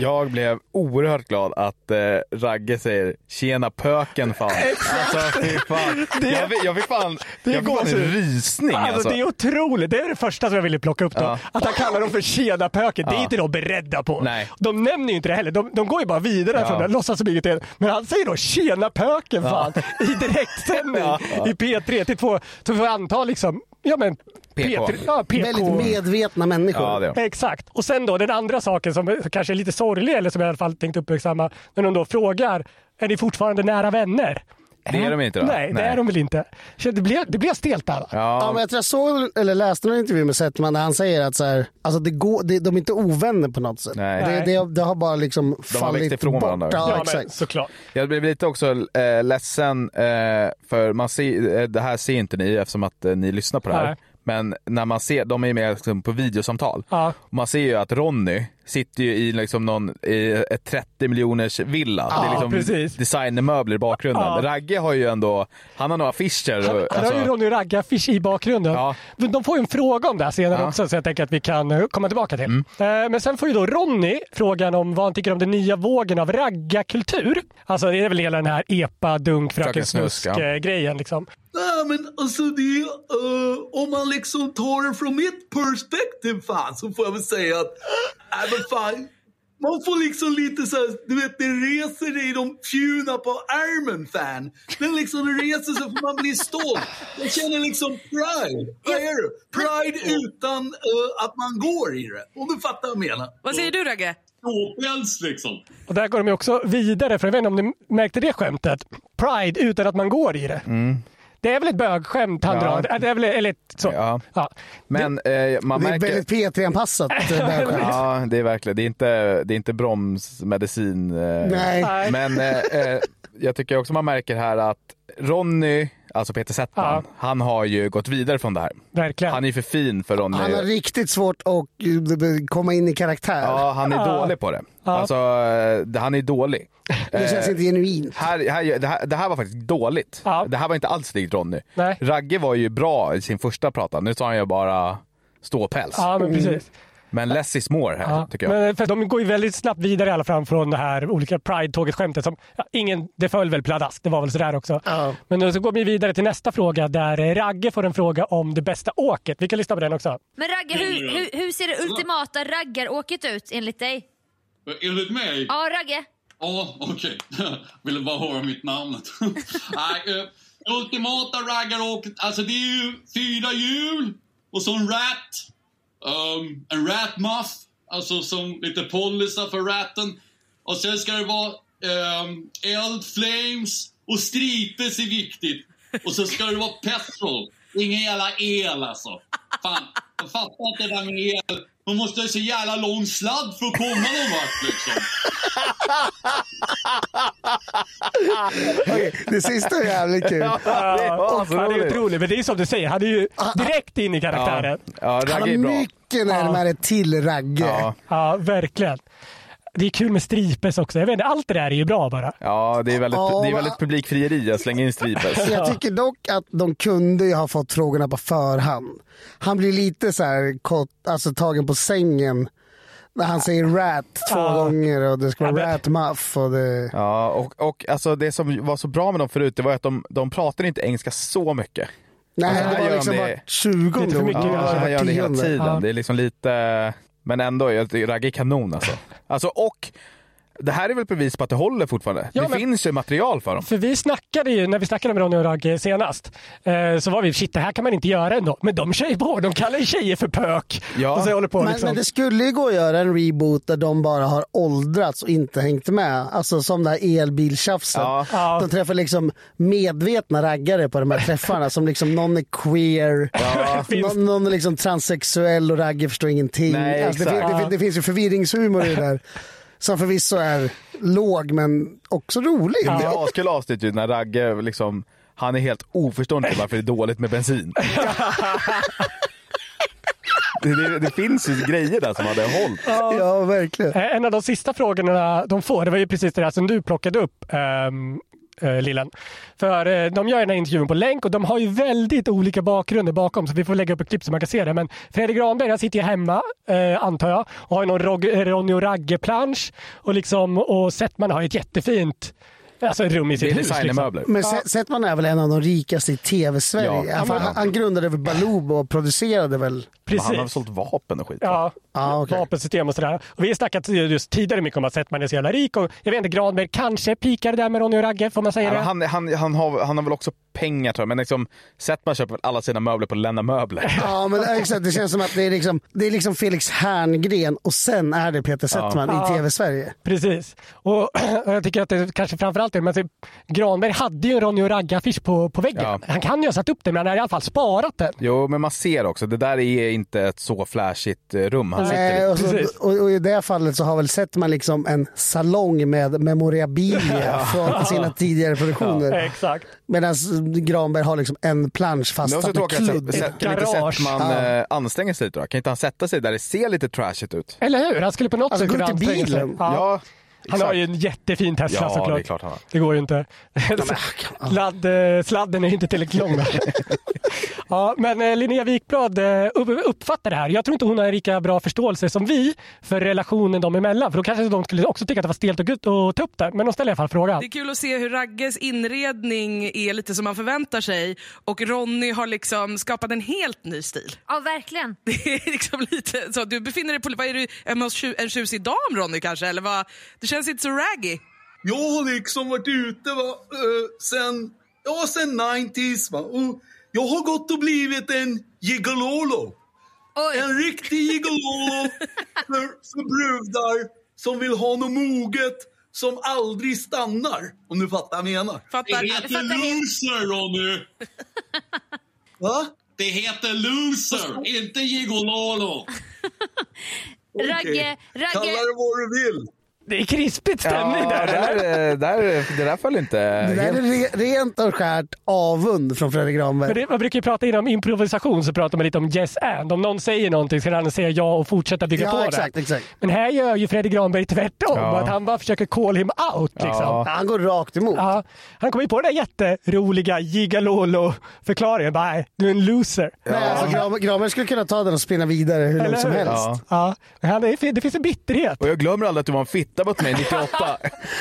Speaker 3: Jag blev oerhört glad att eh, Ragge säger “Tjena pöken fan”. alltså fy fan. Jag, fick- jag fick fan,
Speaker 2: är
Speaker 3: jag fick fan en
Speaker 2: gåshud.
Speaker 3: rysning
Speaker 2: Alltså,
Speaker 3: alltså.
Speaker 2: Det är otroligt. Det är det första som jag ville plocka upp. Då. Att han kallar dem för tjänarpöken. Det är inte de beredda på.
Speaker 3: Nej.
Speaker 2: De nämner ju inte det heller. De, de går ju bara vidare från det. Låtsas som inget är. Men han säger då tjänarpöken fan i direktsändning i P3 till två, till två antal liksom ja, men,
Speaker 3: PK.
Speaker 2: Petri- ja, PK.
Speaker 1: Väldigt medvetna människor.
Speaker 3: Ja, det är de.
Speaker 2: Eh, Exakt. Och sen då den andra saken som är kanske är lite sorglig eller som jag i alla fall tänkte uppmärksamma. När de då frågar, är ni fortfarande nära vänner? Äh?
Speaker 3: Det är de inte då?
Speaker 2: Nej, det är de väl inte. Så det blev, det blev stelt där. va?
Speaker 1: Ja, men jag tror jag såg eller läste någon intervju med Settman där han säger att så här, alltså det går, det, de är inte ovänner på något sätt.
Speaker 3: Nej.
Speaker 1: Det, det, det har bara liksom fallit
Speaker 3: växt ifrån
Speaker 1: bort.
Speaker 3: varandra.
Speaker 1: Ja,
Speaker 2: Ja, men,
Speaker 1: exakt.
Speaker 2: såklart.
Speaker 3: Jag blev lite också eh, ledsen, eh, för man ser, eh, det här ser inte ni eftersom att eh, ni lyssnar på det här.
Speaker 2: Nej.
Speaker 3: Men när man ser, de är ju med liksom, på videosamtal.
Speaker 2: Ja.
Speaker 3: Man ser ju att Ronny sitter ju i liksom någon, i ett 30 miljoners villa. det är liksom
Speaker 2: precis.
Speaker 3: designermöbler i bakgrunden.
Speaker 2: Ja.
Speaker 3: Ragge har ju ändå, han har några affischer.
Speaker 2: Han,
Speaker 3: och-
Speaker 2: han har ju Ronny Raggarfish i bakgrunden.
Speaker 3: alltså- Ja.
Speaker 2: Men De får ju en fråga om det här senare
Speaker 3: Ja. Mm.
Speaker 2: också så jag tänker att vi kan eh, komma tillbaka till. Eh, Men sen får ju då Ronny frågan om vad han tycker om den nya vågen av raggarkultur. Alltså det är väl hela den här epa, dunk, fröken
Speaker 3: Fröken Snusk, ja.
Speaker 2: snusk-grejen. Liksom.
Speaker 5: Nej, men alltså det, eh, om man liksom tar det från mitt perspektiv fan, så får jag väl säga att, nej men fan, man får liksom lite så här, du vet det reser dig i de fjuna på ärmen fan. Den liksom det reser sig för man blir stolt. Jag känner liksom pride, vad är det? Pride utan eh, att man går i det. Om du fattar vad jag menar.
Speaker 6: Vad säger du Ragge?
Speaker 5: Ståpäls liksom.
Speaker 2: Och där går de ju också vidare, för jag vet inte om ni märkte det skämtet. Pride utan att man går i det. Det är väl ett bögskämt han
Speaker 3: Mm. Ja.
Speaker 2: drar? Det är väl, eller ett, så.
Speaker 3: Ja.
Speaker 2: Ja.
Speaker 3: Men eh, man
Speaker 1: Det är
Speaker 3: märker...
Speaker 1: väldigt P3-anpassat. eh, bögskämt.
Speaker 3: Ja, det är verkligen. Det är inte, det är inte bromsmedicin. eh,
Speaker 1: Nej.
Speaker 2: Nej.
Speaker 3: Men eh, eh, jag tycker också man märker här att Ronny, alltså Peter Settman,
Speaker 2: Ja.
Speaker 3: han har ju gått vidare från det här.
Speaker 2: Verkligen.
Speaker 3: Han är ju för fin för Ronny.
Speaker 1: Han har riktigt svårt att eh, b- b- komma in i karaktär.
Speaker 3: Ja, han är dålig på det. Alltså, eh, det- han är dålig.
Speaker 1: Det känns
Speaker 3: eh,
Speaker 1: inte genuint.
Speaker 3: Här, här, det, här, det här var faktiskt dåligt.
Speaker 2: Ja.
Speaker 3: Det här var inte alls likt Ronny.
Speaker 2: Nej.
Speaker 3: Ragge var ju bra i sin första prata. Nu sa han ju bara ståpäls.
Speaker 2: Ja, men precis.
Speaker 3: Men less is more här,
Speaker 2: Ja,
Speaker 3: tycker jag.
Speaker 2: Men eh, för de går ju väldigt snabbt vidare i alla fall från det här olika Pride-tåget-skämtet. Som, ja, ingen, det föll väl pladask, det var väl sådär också.
Speaker 1: Ja.
Speaker 2: Men då så går vi vidare till nästa fråga där eh, Ragge får en fråga om det bästa åket. Vi kan lyssna på den också.
Speaker 4: Men Ragge, hur, hur, hur ser det ultimata raggaråket ut enligt dig?
Speaker 5: Eh, Enligt mig
Speaker 4: Ja, Ragge?
Speaker 5: Ja, okej. Ville bara höra mitt namn. Nej, eh, ultimata raggaråket, alltså det är ju fyra hjul och så en rat. Ehm, en rat muff, alltså som lite polisa för ratten. Och sen ska det vara ehm, eld, flames och stripes är viktigt. Och så ska det vara petrol. Ingen jävla el alltså. Fan, jag fattar inte det där med el. Man måste ha så jävla lång sladd för att komma någon vart liksom.
Speaker 1: Okej, Det sista är jävligt kul.
Speaker 3: Ja,
Speaker 2: han är otrolig, men det är som du säger, han är ju direkt in i karaktären. Ja,
Speaker 3: Ah, Ja,
Speaker 1: Han
Speaker 3: Ragge är
Speaker 1: har
Speaker 3: bra.
Speaker 1: mycket närmare till Ragge.
Speaker 3: Ja.
Speaker 2: verkligen. Det är kul med stripes också. Jag vet inte, allt det där är ju bra bara.
Speaker 3: Ja, det är väldigt,
Speaker 1: Ja,
Speaker 3: det är
Speaker 1: va-
Speaker 3: väldigt publikfrieri att slänga in stripes.
Speaker 1: Jag tycker dock att de kunde ju ha fått frågorna på förhand. Han blir lite så här kort, alltså tagen på sängen när han säger rat två gånger och det ska vara
Speaker 2: Ja, men-
Speaker 1: rat muff och det...
Speaker 3: Ja, och, och alltså det som var så bra med dem förut det var att de, de pratade inte engelska så mycket.
Speaker 1: Nej,
Speaker 3: Alltså, här
Speaker 1: det var
Speaker 3: gör
Speaker 1: liksom
Speaker 3: de
Speaker 1: vart
Speaker 3: det-
Speaker 1: 20
Speaker 2: Lite för
Speaker 1: tror
Speaker 2: mycket,
Speaker 1: jag.
Speaker 3: Ja,
Speaker 2: alltså,
Speaker 3: det här
Speaker 1: Vart
Speaker 3: gör de hela
Speaker 1: tionde.
Speaker 3: tiden.
Speaker 2: Ja.
Speaker 3: Det är liksom lite... Men ändå, jag tycker Ragge är kanon alltså. alltså. Och det här är väl bevis på att det håller fortfarande.
Speaker 2: Ja,
Speaker 3: det
Speaker 2: men-
Speaker 3: finns ju material för dem.
Speaker 2: För vi snackade ju, när vi snackade med Ronny och Ragge senast, eh, så var vi shit det här kan man inte göra ändå. Men de kör ju på, de kallar ju tjejer för pök.
Speaker 3: Ja.
Speaker 2: Och så håller på
Speaker 1: Men,
Speaker 2: liksom.
Speaker 1: men det skulle ju gå att göra en reboot där de bara har åldrats och inte hängt med. Alltså som det här elbiltjafset.
Speaker 3: Ja.
Speaker 2: Ja.
Speaker 1: De träffar liksom medvetna raggare på de här träffarna. som liksom någon är queer, någon, någon är liksom transsexuell och ragge förstår ingenting.
Speaker 3: Nej,
Speaker 1: alltså, det,
Speaker 3: exakt.
Speaker 1: fin- det, fin- det finns ju förvirringshumor i det där. Som förvisso är låg men också rolig.
Speaker 3: Det är askul avsnitt ju när Ragge liksom, han är helt oförstående till varför det är dåligt med bensin. det, det, det finns ju grejer där som hade hållit.
Speaker 1: Ja, verkligen.
Speaker 2: Eh, En av de sista frågorna de får, det var ju precis det där som du plockade upp. ehm, eh, Lillen. För eh, de gör den här intervjun på länk och de har ju väldigt olika bakgrunder bakom så vi får lägga upp ett klipp så man kan se det. Men Fredrik Granberg han sitter ju hemma eh, antar jag och har ju någon Rog- eh, Ronny och Ragge-plansch och, liksom, och Settman har ju ett jättefint alltså, rum i
Speaker 3: Det
Speaker 2: sitt
Speaker 3: är
Speaker 2: hus. Liksom.
Speaker 3: designermöbler.
Speaker 1: Men ja. Settman är väl en av de rikaste i tv-Sverige?
Speaker 3: Ja.
Speaker 1: Han- han, han grundade väl Baloo och producerade väl?
Speaker 3: Men Han har
Speaker 2: liksom. Precis.
Speaker 3: sålt vapen och skit.
Speaker 2: Ja,
Speaker 1: Ja, okej.
Speaker 2: vapensystem och sådär. Och vi har snackat just tidigare mycket om att Settman är så jävla rik och jag vet inte, Granberg kanske pikar där med Ronny och Ragge, får man säga
Speaker 3: Nej,
Speaker 2: det?
Speaker 3: men han, han, han, har, han har väl också pengar tror jag, men liksom, sätt man köper väl alla sina möbler på Lena Möbler.
Speaker 1: Ja, men exakt. Det känns som att det är liksom, det är liksom Felix Herngren och sen är det Peter Settman
Speaker 2: Ja.
Speaker 1: i TV-Sverige.
Speaker 2: Precis. Och, och jag tycker att det kanske framförallt är, men typ, Granberg hade ju en Ronny och Ragge-affisch på, på väggen.
Speaker 3: Ja.
Speaker 2: Han kan ju ha satt upp den, men han har i alla fall sparat den.
Speaker 3: Jo, men man ser också, det där är inte ett så flashigt eh, rum han sitter i.
Speaker 1: Eh, och, så,
Speaker 2: Precis.
Speaker 1: och, och i det fallet så har väl Settman liksom en salong med memorabilia från sina tidigare produktioner.
Speaker 2: Exakt.
Speaker 1: Medan Granberg har liksom en
Speaker 3: Men
Speaker 1: plansch fast
Speaker 3: också
Speaker 1: med
Speaker 3: tråkigt att
Speaker 1: kludd.
Speaker 3: Sett- kan inte
Speaker 2: Garage.
Speaker 3: Settman
Speaker 1: Ja.
Speaker 3: eh, anstränga sig lite då? Kan inte han sätta sig där det ser lite trashigt ut?
Speaker 2: Eller hur? Han skulle på något
Speaker 1: Alltså,
Speaker 2: sätt
Speaker 1: gå ut i
Speaker 2: anstränga sig.
Speaker 1: bilen.
Speaker 2: Ja. Han
Speaker 3: exakt.
Speaker 2: har ju en jättefin Tesla
Speaker 3: Ja, det är
Speaker 2: såklart.
Speaker 3: klart han har.
Speaker 2: Det går ju inte. Ladd, eh, sladden är ju inte tillräckligt lång. där. ja, men eh, Linnea Wikblad eh, upp- uppfattar det här. Jag tror inte hon har lika bra förståelse som vi för relationen dem emellan. För då kanske de skulle också tycka att det var stelt och gött att ta upp det. Men de ställer i alla fall frågan.
Speaker 6: Det är kul att se hur Ragges inredning är lite som man förväntar sig och Ronny har liksom skapat en helt ny stil.
Speaker 4: Ja, verkligen.
Speaker 6: Det är liksom lite så du befinner dig på, vad är du, hemma hos tju, en tjusig dam Ronny kanske? Eller vad? Det känns inte så raggy.
Speaker 5: Jag har liksom varit ute va, eh, sen, ja, sen 90s. Va, och jag har gått och blivit en gigololo.
Speaker 4: Oj,
Speaker 5: En riktig gigololo för, för brudar som vill ha något moget som aldrig stannar. Om du fattar vad jag menar.
Speaker 6: Fattar?
Speaker 4: fattar helt.
Speaker 5: loser, Ronny! Va? Det heter loser, inte gigololo.
Speaker 4: Ragge,
Speaker 5: Kalla
Speaker 4: Ragge.
Speaker 5: det vad du vill.
Speaker 2: Det är krispigt stämning
Speaker 3: Ja,
Speaker 2: där.
Speaker 3: det, där,
Speaker 2: eller?
Speaker 3: eh, där, det där föll inte
Speaker 1: Det där är
Speaker 3: helt...
Speaker 1: re- rent och skärt avund från Fredrik
Speaker 2: Men
Speaker 1: Granberg.
Speaker 2: det, man brukar ju prata inom improvisation så pratar man lite om yes and. Om någon säger någonting ska den andra säga ja och fortsätta bygga på
Speaker 1: Ja,
Speaker 2: det.
Speaker 1: exakt, exakt.
Speaker 2: Men här gör ju Fredrik Granberg tvärtom.
Speaker 3: Ja.
Speaker 2: Att han bara försöker call him out. Liksom.
Speaker 3: Ja.
Speaker 1: Han går rakt emot.
Speaker 2: Ja, han kom ju på den där jätteroliga gigalolo-förklaringen. Bara, "Nej, du är en loser.
Speaker 1: Nej, alltså, Gran- Granberg skulle kunna ta den och spinna vidare hur
Speaker 2: Eller
Speaker 1: långt som
Speaker 2: hur?
Speaker 1: helst.
Speaker 3: Ja.
Speaker 2: Ja, men han är, det finns en bitterhet.
Speaker 3: Och jag glömmer aldrig att du var en fitta mot mig 98.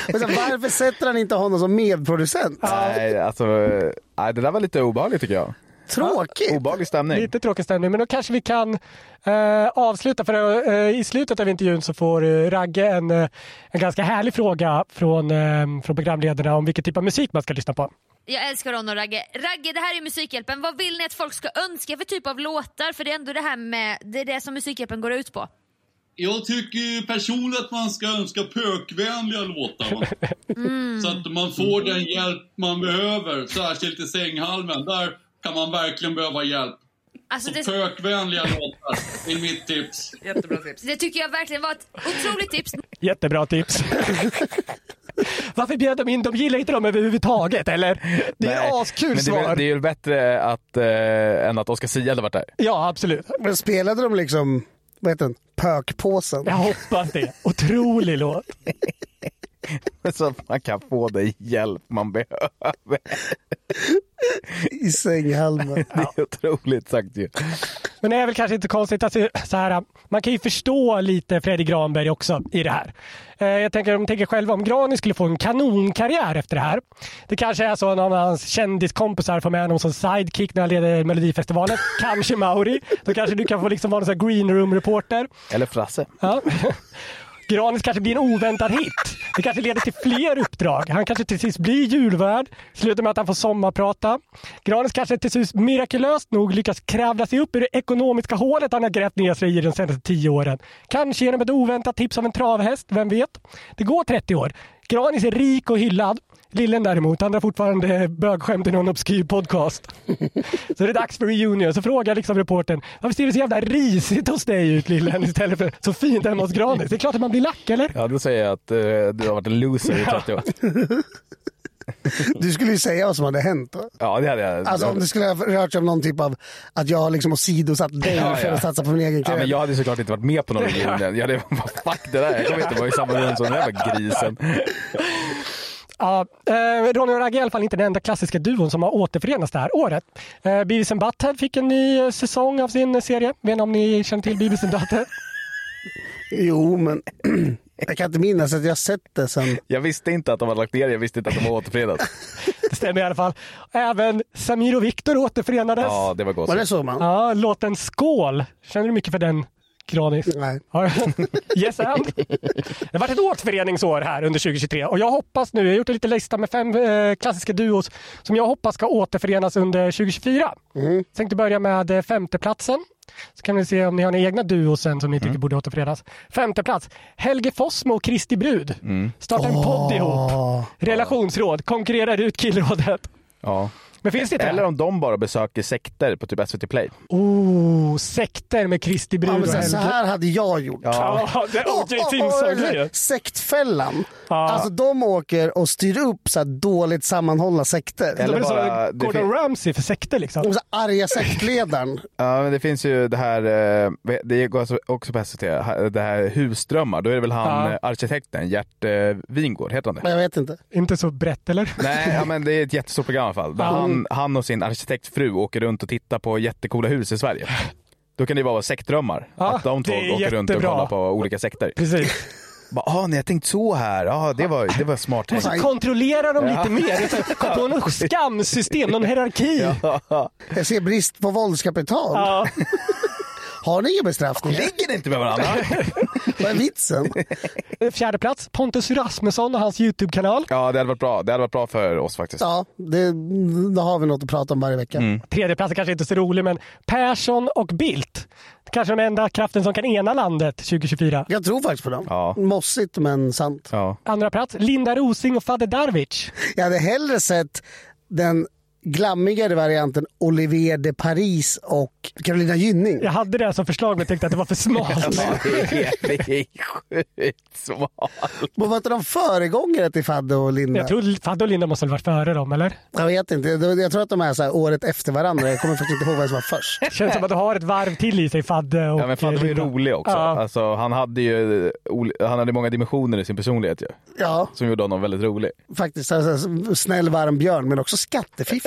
Speaker 1: Men så, varför sätter han inte honom som medproducent?
Speaker 3: nej, alltså, eh, nej, det där var lite obehagligt tycker jag.
Speaker 1: Tråkigt.
Speaker 3: Obehaglig stämning.
Speaker 2: Lite tråkig stämning, men då kanske vi kan eh, avsluta. För eh, I slutet av intervjun så får eh, Ragge en, eh, en ganska härlig fråga från, eh, från programledarna om vilken typ av musik man ska lyssna på.
Speaker 4: Jag älskar Ron och Ragge. Ragge, det här är Musikhjälpen. Vad vill ni att folk ska önska för typ av låtar? För det är ändå det här med, det är det som Musikhjälpen går ut på.
Speaker 5: Jag tycker ju personligen att man ska önska pökvänliga låtar. Va?
Speaker 4: Mm.
Speaker 5: Så att man får den hjälp man behöver, särskilt i sänghalmen. Där kan man verkligen behöva hjälp.
Speaker 4: Alltså det,
Speaker 5: Pökvänliga låtar är mitt tips.
Speaker 6: Jättebra tips.
Speaker 4: det tycker jag verkligen var ett otroligt tips.
Speaker 2: Jättebra tips. Varför bjöd de in? De gillar inte dem överhuvudtaget, eller? Det är
Speaker 3: Nej, men
Speaker 2: askul
Speaker 3: det, är
Speaker 2: svar.
Speaker 3: väl- det är ju bättre att, eh, än att Oscar Zia hade varit där.
Speaker 2: Ja, absolut.
Speaker 1: Men spelade de liksom, vad heter den, pökpåsen?
Speaker 2: Jag hoppas det. Otrolig låt.
Speaker 3: Så att man kan få den hjälp man behöver.
Speaker 1: I sänghalmen.
Speaker 3: Det är otroligt sagt ju.
Speaker 2: Men det är väl kanske inte konstigt att se- så här, man kan ju förstå lite Fredrik Granberg också i det här. Eh, Jag tänker, de tänker själva om Grani skulle få en kanonkarriär efter det här. Det kanske är så att någon av hans kändiskompisar får med honom som sidekick när han leder Melodifestivalen. kanske Mauri. Då kanske du kan få liksom vara någon sån här green room-reporter.
Speaker 3: Eller Frasse.
Speaker 2: Ja. Granis kanske blir en oväntad hit. Det kanske leder till fler uppdrag. Han kanske till sist blir julvärd. Slutar med att han får sommarprata. Granis kanske till sist mirakulöst nog lyckas kravla sig upp ur det ekonomiska hålet han har grävt ner sig i de senaste tio åren. Kanske genom ett oväntat tips av en travhäst, vem vet? Det går 30 år. Granis är rik och hyllad. Lillen däremot, han drar fortfarande bögskämt i någon obskyr podcast. Så det är dags för reunion. Så frågar liksom reportern varför ser det så jävla risigt hos dig ut Lillen istället för så fint hemma hos Granis? Det är klart att man blir lack eller?
Speaker 3: Ja, då säger jag att eh, du har varit en loser i 30 år.
Speaker 1: Du skulle ju säga vad som hade hänt då.
Speaker 3: Ja, det hade jag.
Speaker 1: Alltså om det skulle ha rört sig om någon typ av att jag har liksom åsidosatt dig
Speaker 3: Ja,
Speaker 1: för
Speaker 3: ja.
Speaker 1: att satsa på min egen
Speaker 3: Ja,
Speaker 1: karriär.
Speaker 3: men jag hade såklart inte varit med på någon reunion. Jag hade bara, fuck det där. Jag kommer inte vara i samma rum som den där jävla grisen.
Speaker 2: Ja, eh, Ronny och Ragge är i alla fall inte den enda klassiska duon som har återförenats det här året. Eh, Beavis and Butthead fick en ny eh, säsong av sin eh, serie. Vet inte om ni känner till Beavis and Butthead?
Speaker 1: Jo, men jag kan inte minnas att jag sett det sen.
Speaker 3: Jag visste inte att de hade lagt ner det. Jag visste inte att de var återförenade.
Speaker 2: Det stämmer i alla fall. Även Samir och Viktor återförenades.
Speaker 3: Ja, det var gott.
Speaker 1: Var det så man?
Speaker 2: Ja, låten Skål. Känner du mycket för den Granis.
Speaker 1: Nej.
Speaker 2: Ja. Yes and. Det har varit ett återföreningsår här under 2023 och jag hoppas nu, jag har gjort en liten lista med fem eh, klassiska duos som jag hoppas ska återförenas under 2024.
Speaker 1: Mm.
Speaker 2: Tänkte börja med eh, femteplatsen. Så kan vi se om ni har några egna duos sen som ni tycker borde återförenas. Femte plats, Helge Fossmo och Kristi Brud. Startar en podd ihop. Relationsråd, konkurrerar ut killrådet.
Speaker 3: Ja.
Speaker 2: Men finns det inte?
Speaker 3: Eller om de bara besöker sekter på typ SVT Play.
Speaker 2: Oh, sekter med Kristi Brud
Speaker 1: Ja, men
Speaker 2: och
Speaker 1: så,
Speaker 2: Helge.
Speaker 1: så här hade jag gjort.
Speaker 2: Ja, det är O.J. Simpson-grejen.
Speaker 1: Sektfällan.
Speaker 2: Ja.
Speaker 1: Alltså de åker och styr upp så här dåligt sammanhållna sekter.
Speaker 3: Eller
Speaker 2: Eller bara,
Speaker 3: bara- det
Speaker 2: Gordon
Speaker 3: fin-
Speaker 2: Ramsay för sekter liksom.
Speaker 1: De är så här arga sektledaren.
Speaker 3: Ja, men det finns ju det här, eh, det går alltså också på SVT, det här Husdrömmar. Då är det väl han,
Speaker 2: Ja.
Speaker 3: eh, arkitekten Gert eh, Wingårdh, heter han det?
Speaker 1: Men jag vet inte.
Speaker 2: Inte så brett eller?
Speaker 3: Nej, ja, men det är ett jättestort program i alla fall. Där han, han och sin arkitektfru åker runt och tittar på jättecoola hus i Sverige. Då kan det ju bara vara sektdrömmar.
Speaker 2: Ja,
Speaker 3: att de två
Speaker 2: det är
Speaker 3: åker runt och
Speaker 2: jättebra.
Speaker 3: kollar på olika sekter.
Speaker 2: Precis.
Speaker 3: Bara, ah, ni har tänkt så här. Ja, det var, det var smart tänkt.
Speaker 2: Så kontrollerar de lite mer. Så här, Kom på något skamsystem, någon hierarki. Ja.
Speaker 1: Jag ser brist på våldskapital. Har ni ingen bestraffning?
Speaker 3: Ligger ni inte med varandra?
Speaker 1: Vad är vitsen?
Speaker 2: Fjärde plats, Pontus Rasmusson och hans YouTube-kanal.
Speaker 3: Ja, det hade varit bra. Det hade varit bra för oss faktiskt.
Speaker 1: Ja, det, då har vi något att prata om varje vecka.
Speaker 3: Mm.
Speaker 2: Tredje plats är kanske inte så rolig, men Persson och Bildt. Kanske den enda kraften som kan ena landet 2024.
Speaker 1: Jag tror faktiskt på dem.
Speaker 3: Ja.
Speaker 1: Mossigt men sant.
Speaker 3: Ja.
Speaker 2: Andra plats, Linda Rosing och Fader Darwich.
Speaker 1: Jag hade hellre sett den glammigare varianten Olivier de Paris och Carolina Gynning.
Speaker 2: Jag hade det som förslag men tänkte att det var för smalt.
Speaker 3: Ja, det är- det är sjukt smart.
Speaker 1: Men var inte de föregångare till Fadde och Linda?
Speaker 2: Jag
Speaker 1: Jag,
Speaker 2: tror Fadde och Linda måste väl varit före dem, eller?
Speaker 1: vet inte. Jag jag tror att de är så här året efter varandra. Jag kommer faktiskt inte ihåg vem som var först.
Speaker 2: Känns som att du har ett varv till i sig Fadde och
Speaker 3: Ja, men fan, det var ju
Speaker 2: Linda.
Speaker 3: rolig också.
Speaker 2: Ja.
Speaker 3: Alltså, han hade ju ol- han hade många dimensioner i sin personlighet ju,
Speaker 1: Ja,
Speaker 3: som gjorde honom väldigt rolig.
Speaker 1: faktiskt. Alltså, snäll, varm björn, men också skattefifflare.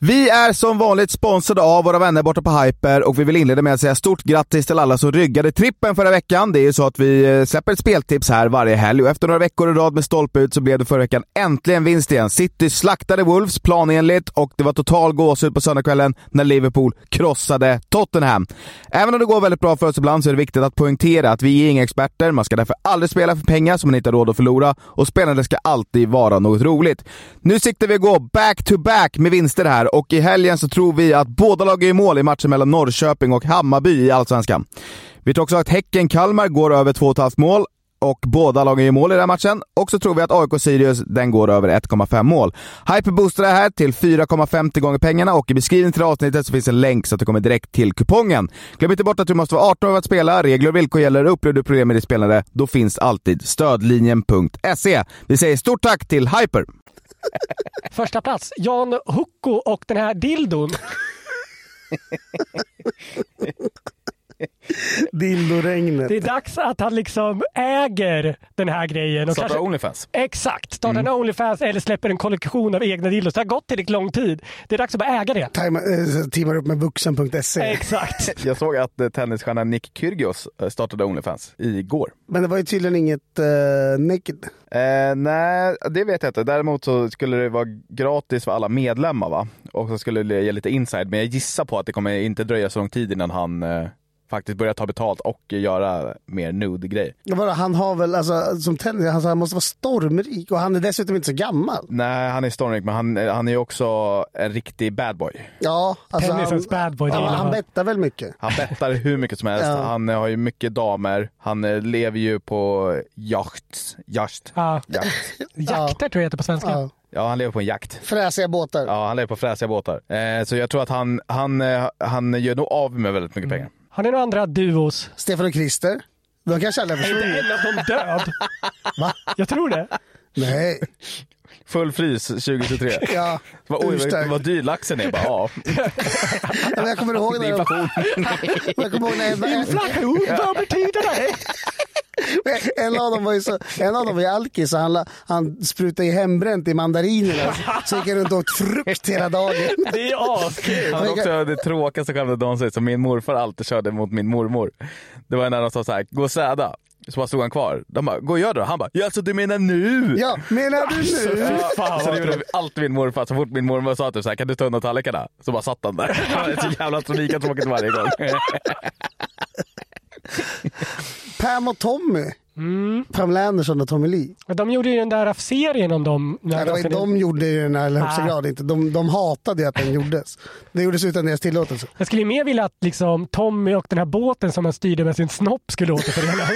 Speaker 7: Vi är som vanligt sponsrade av våra vänner borta på Hyper och vi vill inleda med att säga stort grattis till alla som ryggade trippen förra veckan. Det är ju så att vi eh, släpper ett speltips här varje helg och efter några veckor i rad med stolpe ut så blev det förra veckan äntligen vinst igen. City slaktade Wolves planenligt och det var total gåshud på söndagskvällen när Liverpool krossade Tottenham. Även om det går väldigt bra för oss ibland så är det viktigt att poängtera att vi är inga experter. Man ska därför aldrig spela för pengar som man inte har råd att förlora och spelandet ska alltid vara något roligt. Nu siktar vi att gå back-to-back med vinster här och i helgen så tror vi att båda lag är i mål i matchen mellan Norrköping och Hammarby i Allsvenskan. Vi tror också att Häcken-Kalmar går över 2,5 mål och båda lagen gör mål i den här matchen. Och så tror vi att AIK-Sirius, den går över 1,5 mål. Hyper boostar det här till 4,50 gånger pengarna och i beskrivningen till det här avsnittet så finns en länk så att du kommer direkt till kupongen. Glöm inte bort att du måste vara 18 år för att spela. Regler och villkor gäller. Upplever du problem med ditt spelande, då finns alltid stödlinjen.se. E. Vi säger stort tack till Hyper!
Speaker 2: Första plats, Jan Hucko och den här dildon.
Speaker 1: Dildoregnet.
Speaker 2: Det är dags att han liksom äger den här grejen. Och
Speaker 3: Starta
Speaker 2: kanske,
Speaker 3: Onlyfans.
Speaker 2: exakt, startar
Speaker 1: Mm.
Speaker 2: en Onlyfans eller släpper en kollektion av egna dildos. Det har gått tillräckligt lång tid. Det är dags att bara äga det.
Speaker 1: Tajma- eh, Teamar upp med vuxen.se.
Speaker 2: Exakt.
Speaker 3: Jag såg att eh, tennisstjärnan Nick Kyrgios eh, startade Onlyfans igår.
Speaker 1: Men det var ju tydligen inget uh, naked.
Speaker 3: Eh, nej, det vet jag inte. Däremot så skulle det vara gratis för alla medlemmar va? Och så skulle det ge lite inside. Men jag gissar på att det kommer inte dröja så lång tid innan han eh, faktiskt börja ta betalt och göra mer nude-grejer.
Speaker 1: Vadå, Han har väl, alltså, som tennis, alltså, han måste vara stormrik och han är dessutom inte så gammal.
Speaker 3: Nej, han är stormrik, men han, eh, han är ju också en riktig bad boy.
Speaker 1: Ja, alltså,
Speaker 3: Tennisens
Speaker 1: han,
Speaker 3: bad boy, det
Speaker 1: ja,
Speaker 3: gillar
Speaker 1: Han
Speaker 3: man.
Speaker 1: bettar väl mycket.
Speaker 3: Han bettar hur mycket som helst.
Speaker 1: Ja.
Speaker 3: Han eh, har ju mycket damer. Han eh, lever ju på yachts. Yacht.
Speaker 2: Ja.
Speaker 3: Yacht.
Speaker 2: Jakter tror jag heter på svenska.
Speaker 1: Ja.
Speaker 3: Ja, han lever på en jakt.
Speaker 1: Fräsiga båtar.
Speaker 3: Ja, han lever på fräsiga båtar. Eh, så jag tror att han, han, eh, han gör nog av med väldigt mycket pengar.
Speaker 2: Har ni några andra duos?
Speaker 1: Stefan och Christer. De kanske aldrig har
Speaker 2: Är inte
Speaker 1: försvunnit.
Speaker 2: en av dem död?
Speaker 1: Va?
Speaker 2: Jag tror det.
Speaker 1: Nej.
Speaker 3: Full frys 2023.
Speaker 1: Ja,
Speaker 3: Vad, oj,
Speaker 1: Ursäkta.
Speaker 3: vad, vad dyr laxen är. Bara, ja.
Speaker 1: Ja, men Jag kommer ihåg när
Speaker 3: Inflation.
Speaker 1: Jag kommer ihåg när
Speaker 2: Inflation, vad betyder det?
Speaker 1: en av dem var ju, så, en av dem var ju alkis så han, la- han sprutade ju hembränt i mandarinerna. Så gick han runt och åt frukt hela dagen.
Speaker 2: Det är askul.
Speaker 3: Han också det tråkigaste skämtet någonsin som min morfar alltid körde mot min mormor. Det var när de sa så här, gå och städa. Så bara stod han kvar. De bara, gå och gör det då. Han bara, ja alltså du menar nu?
Speaker 1: Ja, menar du nu?
Speaker 3: Ja, så det gjorde alltid min morfar. Så fort min mormor sa typ så här, kan du ta undan tallrikarna? Så bara satt han där. Han är så jävla lika tråkigt varje gång.
Speaker 1: Pam och Tommy.
Speaker 3: Mm.
Speaker 1: Pam Landerson och Tommy Lee.
Speaker 2: Men de gjorde ju den där serien om dem. Alltså,
Speaker 1: Nej, det var ju, de gjorde ju den här i högsta
Speaker 2: Ah.
Speaker 1: grad inte. De, de hatade ju att den gjordes. Det gjordes utan deras tillåtelse.
Speaker 2: Jag skulle ju mer vilja att liksom, Tommy och den här båten som han styrde med sin snopp skulle återförenas.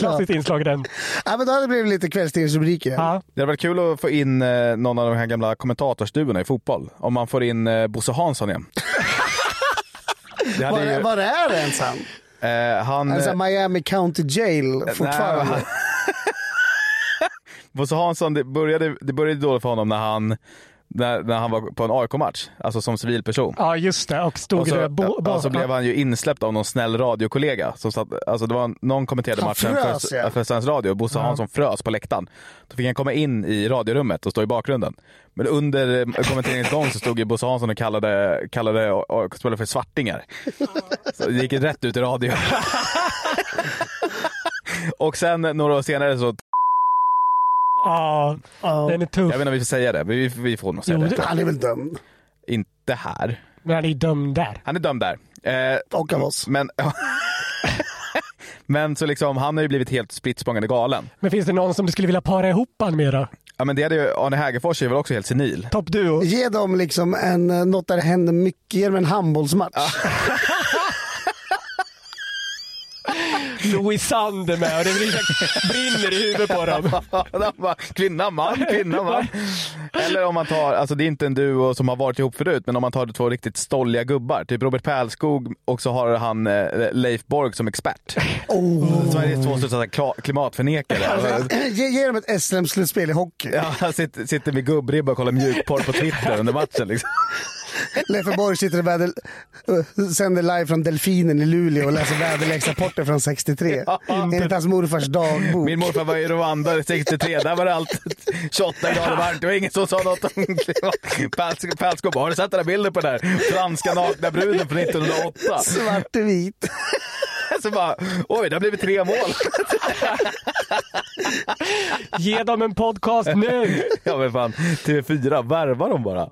Speaker 2: Klassiskt inslag i den.
Speaker 1: Ja, men då hade det blivit lite kvällstidningsrubriker.
Speaker 2: Ja.
Speaker 3: Det hade varit kul att få in eh, någon av de här gamla kommentatorsduorna i fotboll. Om man får in eh, Bosse Hansson igen. Det hade
Speaker 1: Var,
Speaker 3: ju-
Speaker 1: var är det ens han?
Speaker 3: eh, han,
Speaker 1: Alltså,
Speaker 3: eh,
Speaker 1: Miami County Jail fortfarande.
Speaker 3: Nej, men- Bosse Hansson, det började, det började dåligt för honom när han, när, när han var på en AIK-match, alltså som civilperson.
Speaker 2: ja, just det. Och stod
Speaker 3: Och så,
Speaker 2: det bo-
Speaker 3: Alltså, ja, och så blev han ju insläppt av någon snäll radiokollega. Som satt, alltså det var, någon kommenterade
Speaker 1: Han
Speaker 3: matchen
Speaker 1: frös,
Speaker 3: för,
Speaker 1: ja.
Speaker 3: för Svensk Radio. Bosse
Speaker 2: Ja.
Speaker 3: Hansson frös på läktaren. Då fick han komma in i radiorummet och stå i bakgrunden. Men under eh, kommenteringens gång så stod ju Bosse Hansson och kallade, kallade AIK-spelare för svartingar. Så det gick ju rätt ut i radio. och sen några år senare så,
Speaker 2: Ja,
Speaker 1: Ja.
Speaker 2: den är
Speaker 3: jag
Speaker 2: tuff.
Speaker 3: vet inte om vi får säga det, men vi, vi får nog säga
Speaker 2: Jo,
Speaker 3: det.
Speaker 2: det-
Speaker 1: Han är väl dömd.
Speaker 3: Inte här.
Speaker 2: Men han är ju dömd där.
Speaker 3: Han är dömd där. Eh,
Speaker 1: Och av oss.
Speaker 3: Men, men så liksom, han har ju blivit helt spritt språngande galen.
Speaker 2: Men finns det någon som du skulle vilja para ihop han med då?
Speaker 3: Ja men det hade ju, Arne Hägerfors är väl också helt senil.
Speaker 2: Toppduo?
Speaker 1: Ge dem liksom en, eh, något där det händer mycket. Ge dem en handbollsmatch.
Speaker 2: Louis Sand är med och det blir så- brinner i huvudet på dem.
Speaker 3: Han bara, kvinna, man, kvinna, man. Eller om man tar, alltså det är inte en duo som har varit ihop förut, men om man tar två riktigt stolliga gubbar. Typ Robert Pärlskog och så har han eh, Leif Borg som expert. Oh. Sveriges två största kla- klimatförnekare.
Speaker 1: Alltså, Ge, ge dem ett SM-slutspel i hockey.
Speaker 3: alltså- Ja, han sitter, sitter med gubbribba och kollar mjukporr på Twitter under matchen. Liksom.
Speaker 1: Leffe Borg sitter och väder, eh, sänder live från Delfinen i Luleå och läser väderleksrapporter från 63. Enligt hans morfars dagbok.
Speaker 3: Min morfar var i Rwanda 63, där var det allt 28 grader varmt. Det var ingen som sa något om klimat. Päls- Pälskåp, har du sett den där bilden på den där franska nakna bruden från 1908?
Speaker 1: Svart och vit.
Speaker 3: Så bara, oj det har blivit tre mål.
Speaker 2: Ge dem en podcast nu!
Speaker 3: Ja men fan, TV4, värva dem bara.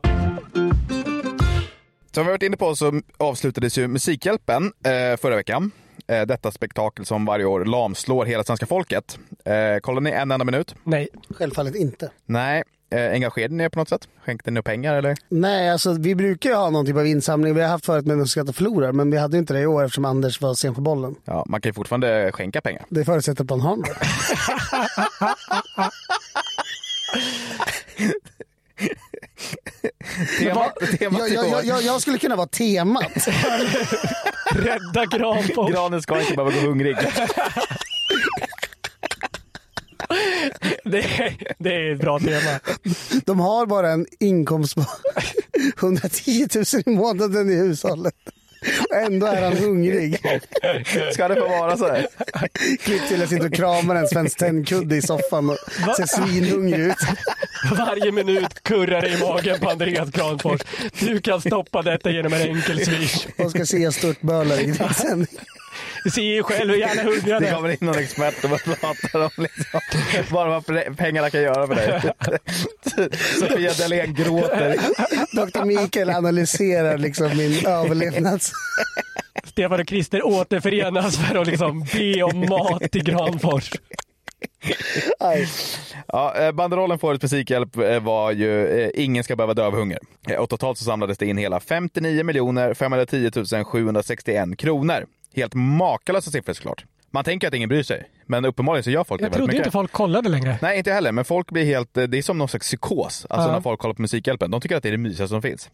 Speaker 3: Som vi varit inne på så avslutades ju Musikhjälpen eh, förra veckan. Eh, detta spektakel som varje år lamslår hela svenska folket. Eh, kollar ni en enda minut?
Speaker 2: Nej,
Speaker 1: Självfallet inte.
Speaker 3: Nej. Eh, engagerade ni er på något sätt? Skänkte ni pengar eller?
Speaker 1: Nej, alltså vi brukar ju ha någon typ av insamling. Vi har haft förut med Muskat och förlorar, men vi hade ju inte det i år eftersom Anders var sen på bollen.
Speaker 3: Ja, man kan ju fortfarande skänka pengar.
Speaker 1: Det förutsätter att man har något.
Speaker 3: Tema, temat
Speaker 1: Jag, jag, jag, jag, jag skulle kunna vara temat.
Speaker 2: rädda Granfors!
Speaker 3: Granen ska inte behöva gå hungrig.
Speaker 2: Det, är- det är ett bra tema.
Speaker 1: De har bara en inkomst på 110 000 i månaden i hushållet. Och Ändå är han hungrig.
Speaker 3: Ska det få vara så här?
Speaker 1: Klipp till att sitta och kramar en svensk tändkudde i soffan och ser svinhungrig ut.
Speaker 2: Varje minut kurrar det i magen på Andreas Granfors. Du kan stoppa detta genom en enkel swish.
Speaker 1: Och ska se störtbölar i din sändning.
Speaker 2: Du ser ju själv hur gärna hungriga ni
Speaker 3: Det
Speaker 2: är.
Speaker 3: kommer in någon expert och bara pratar om liksom, bara vad pre- pengarna kan göra för dig. Sofia Dalén gråter.
Speaker 1: Dr. Mikael analyserar liksom min överlevnads...
Speaker 2: Stefan och Christer återförenas för att liksom be om mat till Granfors.
Speaker 3: Ja, eh, banderollen för årets musikhjälp eh, var ju eh, Ingen ska behöva dö av hunger. Eh, Och totalt så samlades det in hela 59 510 761 kronor. Helt makalösa siffror såklart. Man tänker att ingen bryr sig, men uppenbarligen så gör folk
Speaker 2: Jag
Speaker 3: det väldigt
Speaker 2: trodde
Speaker 3: mycket.
Speaker 2: inte folk kollade längre.
Speaker 3: Nej, inte jag heller, men folk blir helt... eh, Det är som någon slags psykos, alltså
Speaker 2: Ja.
Speaker 3: när folk kollar på Musikhjälpen. De tycker att det är det mysigaste som finns.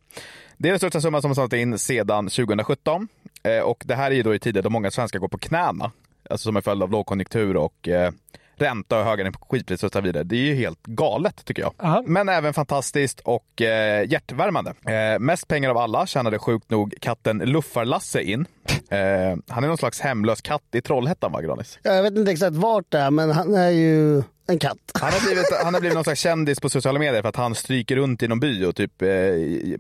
Speaker 3: Det är den största summan som har samlats in sedan 2017 eh, och det här är ju då i tider då många svenskar går på knäna, alltså som en följd av lågkonjunktur och eh, ränta och höga energipriser och så vidare. Det är ju helt galet tycker jag. Men även fantastiskt och eh, hjärtvärmande. Eh, mest pengar av alla tjänade sjukt nog katten Luffar-Lasse in. Eh, han är någon slags hemlös katt i Trollhättan va, Granis?
Speaker 1: Jag vet inte exakt vart det är, men han är ju en katt.
Speaker 3: Han har, blivit, han har blivit någon slags kändis på sociala medier för att han stryker runt i någon by och typ eh,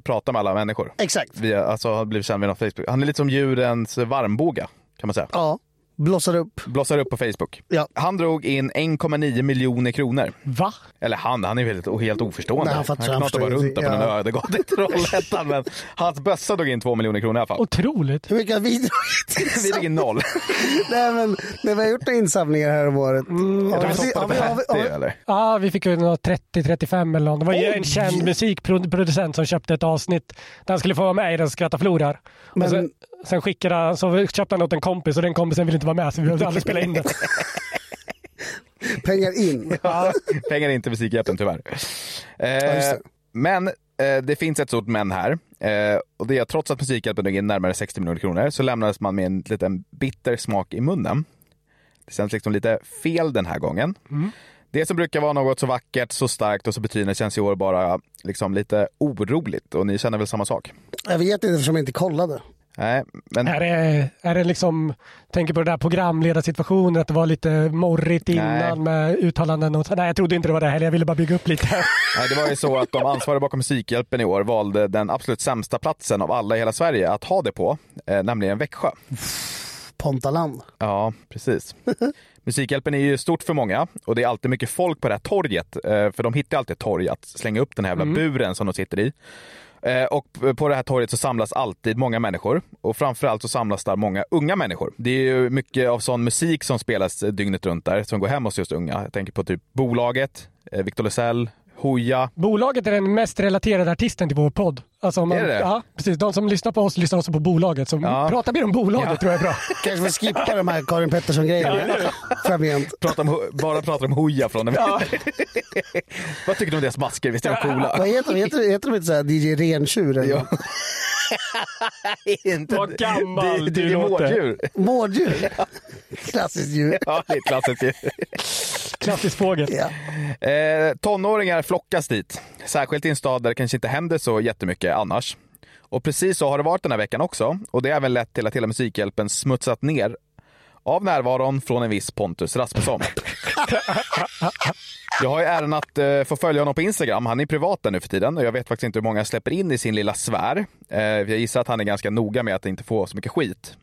Speaker 3: pratar med alla människor.
Speaker 1: Exakt.
Speaker 3: Via, alltså har blivit känd via någon Facebook. Han är lite som djurens varmboga kan man säga.
Speaker 1: Ja, blossar upp.
Speaker 3: Blossar upp på Facebook.
Speaker 1: Ja.
Speaker 3: Han drog in 1,9 miljoner kronor.
Speaker 2: Va?
Speaker 3: Eller han, han är ju helt, helt oförstående.
Speaker 1: Nej, han fattar- han
Speaker 3: knatar
Speaker 1: förstår
Speaker 3: bara runt där på
Speaker 1: ingenting.
Speaker 3: den
Speaker 1: Ja.
Speaker 3: öde gatan i Trollhättan. Men hans bössa drog in 2 miljoner kronor i alla fall.
Speaker 2: Otroligt.
Speaker 1: Hur mycket har vi dragit?
Speaker 3: Vi drog in noll.
Speaker 1: Nej, men när vi har gjort insamlingar här om året.
Speaker 3: Mm, Jag
Speaker 1: Har
Speaker 3: tror
Speaker 1: vi-
Speaker 3: vi
Speaker 1: har
Speaker 3: toppade
Speaker 1: vi-
Speaker 3: på
Speaker 1: har vi-
Speaker 3: 50 eller?
Speaker 2: Ja, vi fick ju några 30-35 eller något. Det var ju en känd musikproducent som köpte ett avsnitt där han skulle få vara med i Den skratta förlorar. Men...
Speaker 1: Men-
Speaker 2: Sen, sen skickade han, så köpte han åt en kompis och den kompisen ville inte vara med så vi behövde aldrig spela in det.
Speaker 1: Pengar in.
Speaker 3: Ja, pengar är inte Musikhjälpen tyvärr. Eh,
Speaker 1: just det.
Speaker 3: Men eh, det finns ett stort men här. Eh, och det är att trots att Musikhjälpen drog in närmare 60 miljoner kronor så lämnades man med en liten bitter smak i munnen. Det känns liksom lite fel den här gången.
Speaker 1: Mm.
Speaker 3: Det som brukar vara något så vackert, så starkt och så betydande känns i år bara liksom lite oroligt. Och ni känner väl samma sak?
Speaker 1: Jag vet inte eftersom jag inte kollade.
Speaker 3: Nej, men...
Speaker 2: Är det, är det liksom, tänker på den där programledarsituationen, att det var lite morrigt innan
Speaker 3: Nej.
Speaker 2: med uttalanden och så. Nej, jag trodde inte det var det heller. Jag ville bara bygga upp lite.
Speaker 3: Nej, det var ju så att de ansvariga bakom Musikhjälpen i år valde den absolut sämsta platsen av alla i hela Sverige att ha det på, eh, nämligen Växjö.
Speaker 1: Pontaland.
Speaker 3: Ja, precis. Musikhjälpen är ju stort för många och det är alltid mycket folk på det här torget. eh, För de hittar alltid ett torg att slänga upp den här jävla buren som de sitter i. Eh, Och på det här torget så samlas alltid många människor och framförallt så samlas där många unga människor. Det är ju mycket av sån musik som spelas eh, dygnet runt där som går hem hos just unga. Jag tänker på typ Bolaget, eh, Victor Luzell, Hooja.
Speaker 2: Bolaget är den mest relaterade artisten till vår podd. Alltså om man,
Speaker 3: Är det det?
Speaker 2: Ja, precis. De som lyssnar på oss lyssnar också på bolaget. Så
Speaker 3: Ja.
Speaker 2: Prata mer om bolaget tror jag är bra.
Speaker 1: Kanske vi skippar de här Karin Pettersson-grejerna framgent.
Speaker 3: Pratar om, Ho- bara pratar om Hooja från den Vad tycker du om deras masker? Visst är de
Speaker 1: Vad
Speaker 3: coola?
Speaker 1: heter de? Heter, heter de inte såhär DJ Rentjur? eller något?
Speaker 3: Inte-
Speaker 2: Vad gammal
Speaker 3: det, det
Speaker 2: du
Speaker 3: är
Speaker 2: låter.
Speaker 3: vårddjur.
Speaker 1: Mårddjur? Klassiskt djur.
Speaker 3: Ja, det är ett klassiskt djur.
Speaker 2: Klassisk fågel.
Speaker 1: Ja.
Speaker 3: Eh, tonåringar flockas dit, särskilt i en stad där det kanske inte händer så jättemycket annars. Och precis så har det varit den här veckan också och det har även lett till att hela Musikhjälpen smutsat ner av närvaron från en viss Pontus Rasmusson. Jag har ju äran att eh, få följa honom på Instagram. Han är privat där nu för tiden och jag vet faktiskt inte hur många han släpper in i sin lilla sfär. Eh, jag gissar att han är ganska noga med att inte få så mycket skit.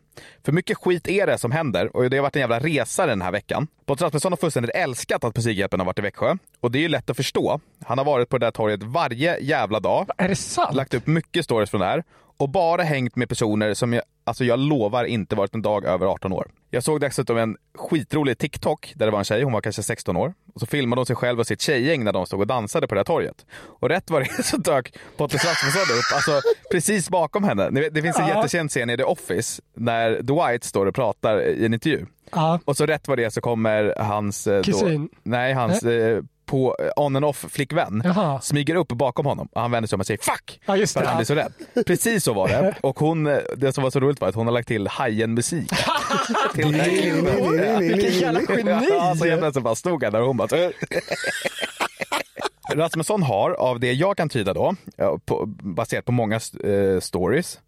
Speaker 3: För mycket skit är det som händer och det har varit en jävla resa den här veckan. Pontus Rasmusson har fullständigt älskat att Musikhjälpen har varit i Växjö och det är ju lätt att förstå. Han har varit på det där torget varje jävla dag,
Speaker 2: Är det sant?
Speaker 3: lagt upp mycket stories från det här och bara hängt med personer som jag, alltså jag lovar inte varit en dag över 18 år. Jag såg dessutom en skitrolig TikTok där det var en tjej, hon var kanske 16 år, och så filmade hon sig själv och sitt tjejgäng när de stod och dansade på det här torget. Och rätt vad det är så dök Pontus Rasmusson upp, alltså precis bakom henne. Ni vet, Det finns en
Speaker 2: Ja.
Speaker 3: jättekänd scen i The Office när Dwight står och pratar i en intervju.
Speaker 2: Ja.
Speaker 3: Och så rätt vad det är så kommer hans... eh,
Speaker 2: Kusin?
Speaker 3: Då, nej, hans eh, på eh, on and off flickvän
Speaker 2: Jaha.
Speaker 3: smyger upp bakom honom och han vänder sig om och säger fuck!
Speaker 2: Ja, just
Speaker 3: för att
Speaker 2: det.
Speaker 3: han blir så rädd. Precis så var det. Och hon, eh, det som var så roligt var att hon har lagt till Hajen-musik. till den här
Speaker 1: nej, nej,
Speaker 3: klippen.
Speaker 1: nej,
Speaker 2: Vilket jävla geni!
Speaker 3: Ja, så jävla så bara stod han där och hon bara... så- Rasmusson har, av det jag kan tyda då, ja, på, baserat på många eh, stories,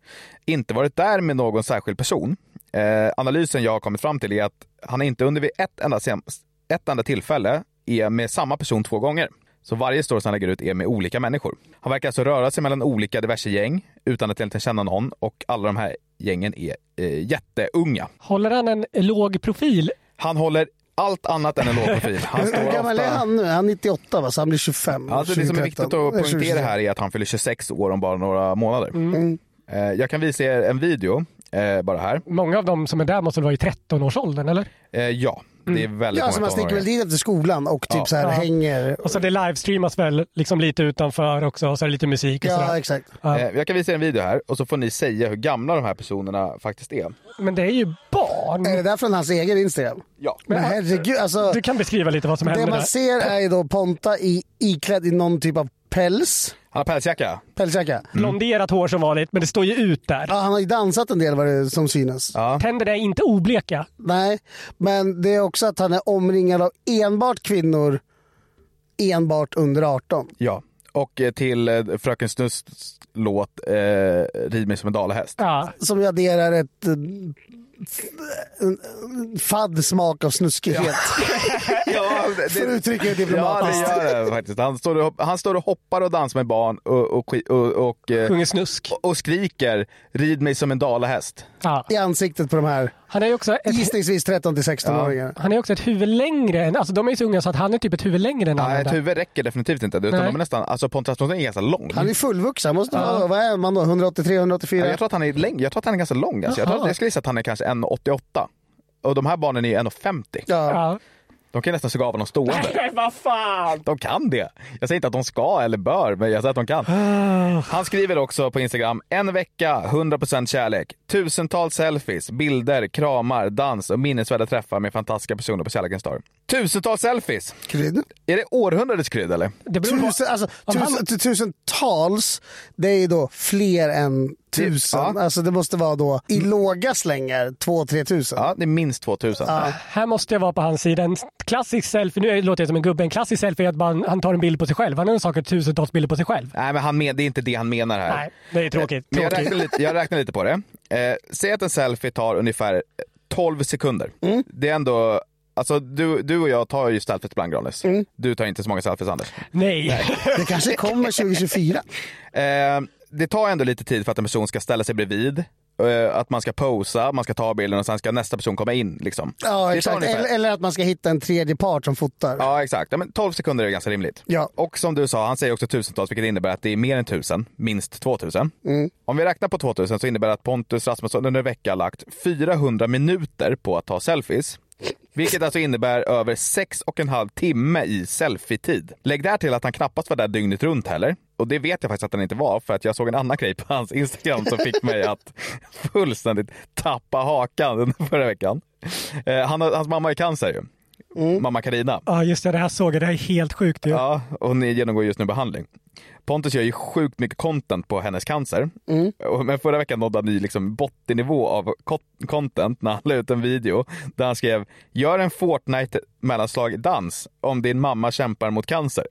Speaker 3: inte varit där med någon särskild person. Eh, analysen jag har kommit fram till är att han inte under vid ett enda, sem- ett enda tillfälle är med samma person två gånger. Så varje story som han lägger ut är med olika människor. Han verkar alltså röra sig mellan olika diverse gäng utan att egentligen känna någon och alla de här gängen är eh, jätteunga.
Speaker 2: Håller han en låg profil?
Speaker 3: Han håller allt annat än en låg profil. Han står
Speaker 1: Hur gammal
Speaker 3: ofta...
Speaker 1: är han nu? Han är 98 va? Så han blir 25.
Speaker 3: Alltså det som är
Speaker 1: 2013.
Speaker 3: viktigt att
Speaker 1: Mm.
Speaker 3: poängtera här är att han fyller 26 år om bara några månader. Eh, Jag kan visa er en video eh, bara här.
Speaker 2: Många av dem som är där måste väl vara i 13-årsåldern, eller?
Speaker 3: Eh, ja, det är väldigt
Speaker 1: Mm. Ja, så
Speaker 3: många
Speaker 1: man sticker
Speaker 3: tonåringar.
Speaker 1: väl dit efter skolan och typ
Speaker 3: Ja.
Speaker 1: så här
Speaker 2: Ja.
Speaker 1: hänger.
Speaker 2: Och så det livestreamas väl liksom lite utanför också, och så är det lite musik och
Speaker 1: Ja,
Speaker 2: sådär.
Speaker 1: exakt.
Speaker 3: Eh, Jag kan visa er en video här och så får ni säga hur gamla de här personerna faktiskt är.
Speaker 2: Men det är ju barn!
Speaker 1: Är det där från hans egen Instagram?
Speaker 3: Ja.
Speaker 1: Men herregud, alltså.
Speaker 2: Du kan beskriva lite vad som
Speaker 1: Det
Speaker 2: händer
Speaker 1: man
Speaker 2: där.
Speaker 1: ser är ju då Ponta i, iklädd i någon typ av päls.
Speaker 3: Han har pälsjacka.
Speaker 1: Pälsjacka.
Speaker 2: Mm. Blonderat hår som vanligt, men det står ju ut där.
Speaker 1: Ja, han har ju dansat en del vad det som synes.
Speaker 2: Tänderna är inte obleka.
Speaker 1: Nej, men det är också att han är omringad av enbart kvinnor enbart under 18.
Speaker 3: Ja. Och eh, till eh, Fröken Snusks låt eh, Rid mig som en dalahäst.
Speaker 2: Ja.
Speaker 1: Som ju adderar ett eh, en- en fadd smak av snuskighet.
Speaker 3: Ja, det,
Speaker 1: För att uttrycka det diplomatiskt.
Speaker 3: Ja, det gör det faktiskt. Han står, och hop- han står och hoppar och dansar med barn och, och, ski- och, och, eh,
Speaker 2: Sjunger snusk.
Speaker 3: och, och skriker Rid mig som en dalahäst.
Speaker 2: Ja.
Speaker 1: I ansiktet på de här
Speaker 2: Han är ju också ett,
Speaker 1: gissningsvis 13 till 16-åringarna.
Speaker 2: han är också ett huvud längre. Än, alltså de är ju så unga så att han är typ ett huvud längre än alla
Speaker 3: Nej, ett
Speaker 2: andra.
Speaker 3: huvud räcker definitivt inte. Utan
Speaker 2: Nej.
Speaker 3: de är nästan, alltså Pontus Rasmusson är ganska lång.
Speaker 1: Han är fullvuxen. Måste vara, vad är man då? 183,
Speaker 3: Ja,
Speaker 1: 184?
Speaker 3: Jag tror att han är läng- jag tror att han är ganska lång. Alltså. Jag, tror
Speaker 1: Jaha.
Speaker 3: att, jag skulle gissa att han är kanske 1,88. Och de här barnen är 1,50.
Speaker 1: Ja.
Speaker 2: Ja.
Speaker 3: De kan nästan suga av honom stående.
Speaker 2: Nej, vad fan!
Speaker 3: De kan det. Jag säger inte att de ska eller bör, men jag säger att de kan.
Speaker 1: Ah.
Speaker 3: Han skriver också på Instagram, en vecka, 100% kärlek. Tusentals selfies, bilder, kramar, dans och minnesvärda träffar med fantastiska personer på Kärlekens dag. Tusentals selfies!
Speaker 1: Krydd.
Speaker 3: Är det århundradets krydd eller?
Speaker 2: Det beror på.
Speaker 1: Tusen, alltså,
Speaker 2: Om han-
Speaker 1: tusen, tusentals, det är ju då fler än tusen.
Speaker 3: Ja.
Speaker 1: Alltså det måste vara då i låga slängar 2-3 tusen.
Speaker 3: Ja, det är minst 2000.
Speaker 2: Här måste jag vara på hans sida. En klassisk selfie, nu låter jag som en gubbe, en klassisk selfie är att man, han tar en bild på sig själv. Han har säkert tusentals bilder på sig själv.
Speaker 3: Nej, men han med, det är inte det han menar här.
Speaker 2: Nej, det är tråkigt.
Speaker 3: Men jag,
Speaker 2: tråkigt.
Speaker 3: räknar lite, jag räknar lite på det. Eh, säg att en selfie tar ungefär 12 sekunder.
Speaker 1: Mm.
Speaker 3: Det är ändå, alltså du, du och jag tar ju selfies ibland Granis.
Speaker 1: Mm.
Speaker 3: Du tar inte så många selfies Anders.
Speaker 2: Nej.
Speaker 1: Det kanske kommer 2024.
Speaker 3: Eh, det tar ändå lite tid för att en person ska ställa sig bredvid. eh, Att man ska posa, man ska ta bilden och sen ska nästa person komma in. Liksom.
Speaker 1: Ja,
Speaker 3: Det tar
Speaker 1: exakt.
Speaker 3: ungefär-
Speaker 1: Eller, eller att man ska hitta en tredje part som fotar.
Speaker 3: Ja exakt, ja, men 12 sekunder är ganska rimligt.
Speaker 1: Ja.
Speaker 3: Och som du sa, han säger också tusentals vilket innebär att det är mer än tusen, minst 2000. Om vi räknar på 2000 så innebär det att Pontus Rasmusson under en vecka har lagt 400 minuter på att ta selfies. Vilket alltså innebär över sex och en halv timme i selfietid. Lägg där till att han knappast var där dygnet runt heller. Och det vet jag faktiskt att han inte var för att jag såg en annan grej på hans Instagram som fick mig att fullständigt tappa hakan under förra veckan. Eh, han, har- hans mamma har ju cancer ju. Mamma Karina.
Speaker 2: Ja, just det. Det här såg jag. Det här är helt sjukt. ju.
Speaker 3: Ja, och ni genomgår just nu behandling. Pontus gör ju sjukt mycket content på hennes cancer.
Speaker 2: Mm.
Speaker 3: Och- Men förra veckan nådde han ju liksom bottennivå av kot- content när han la ut en video där han skrev “Gör en Fortnite mellanslag dans om din mamma kämpar mot cancer”.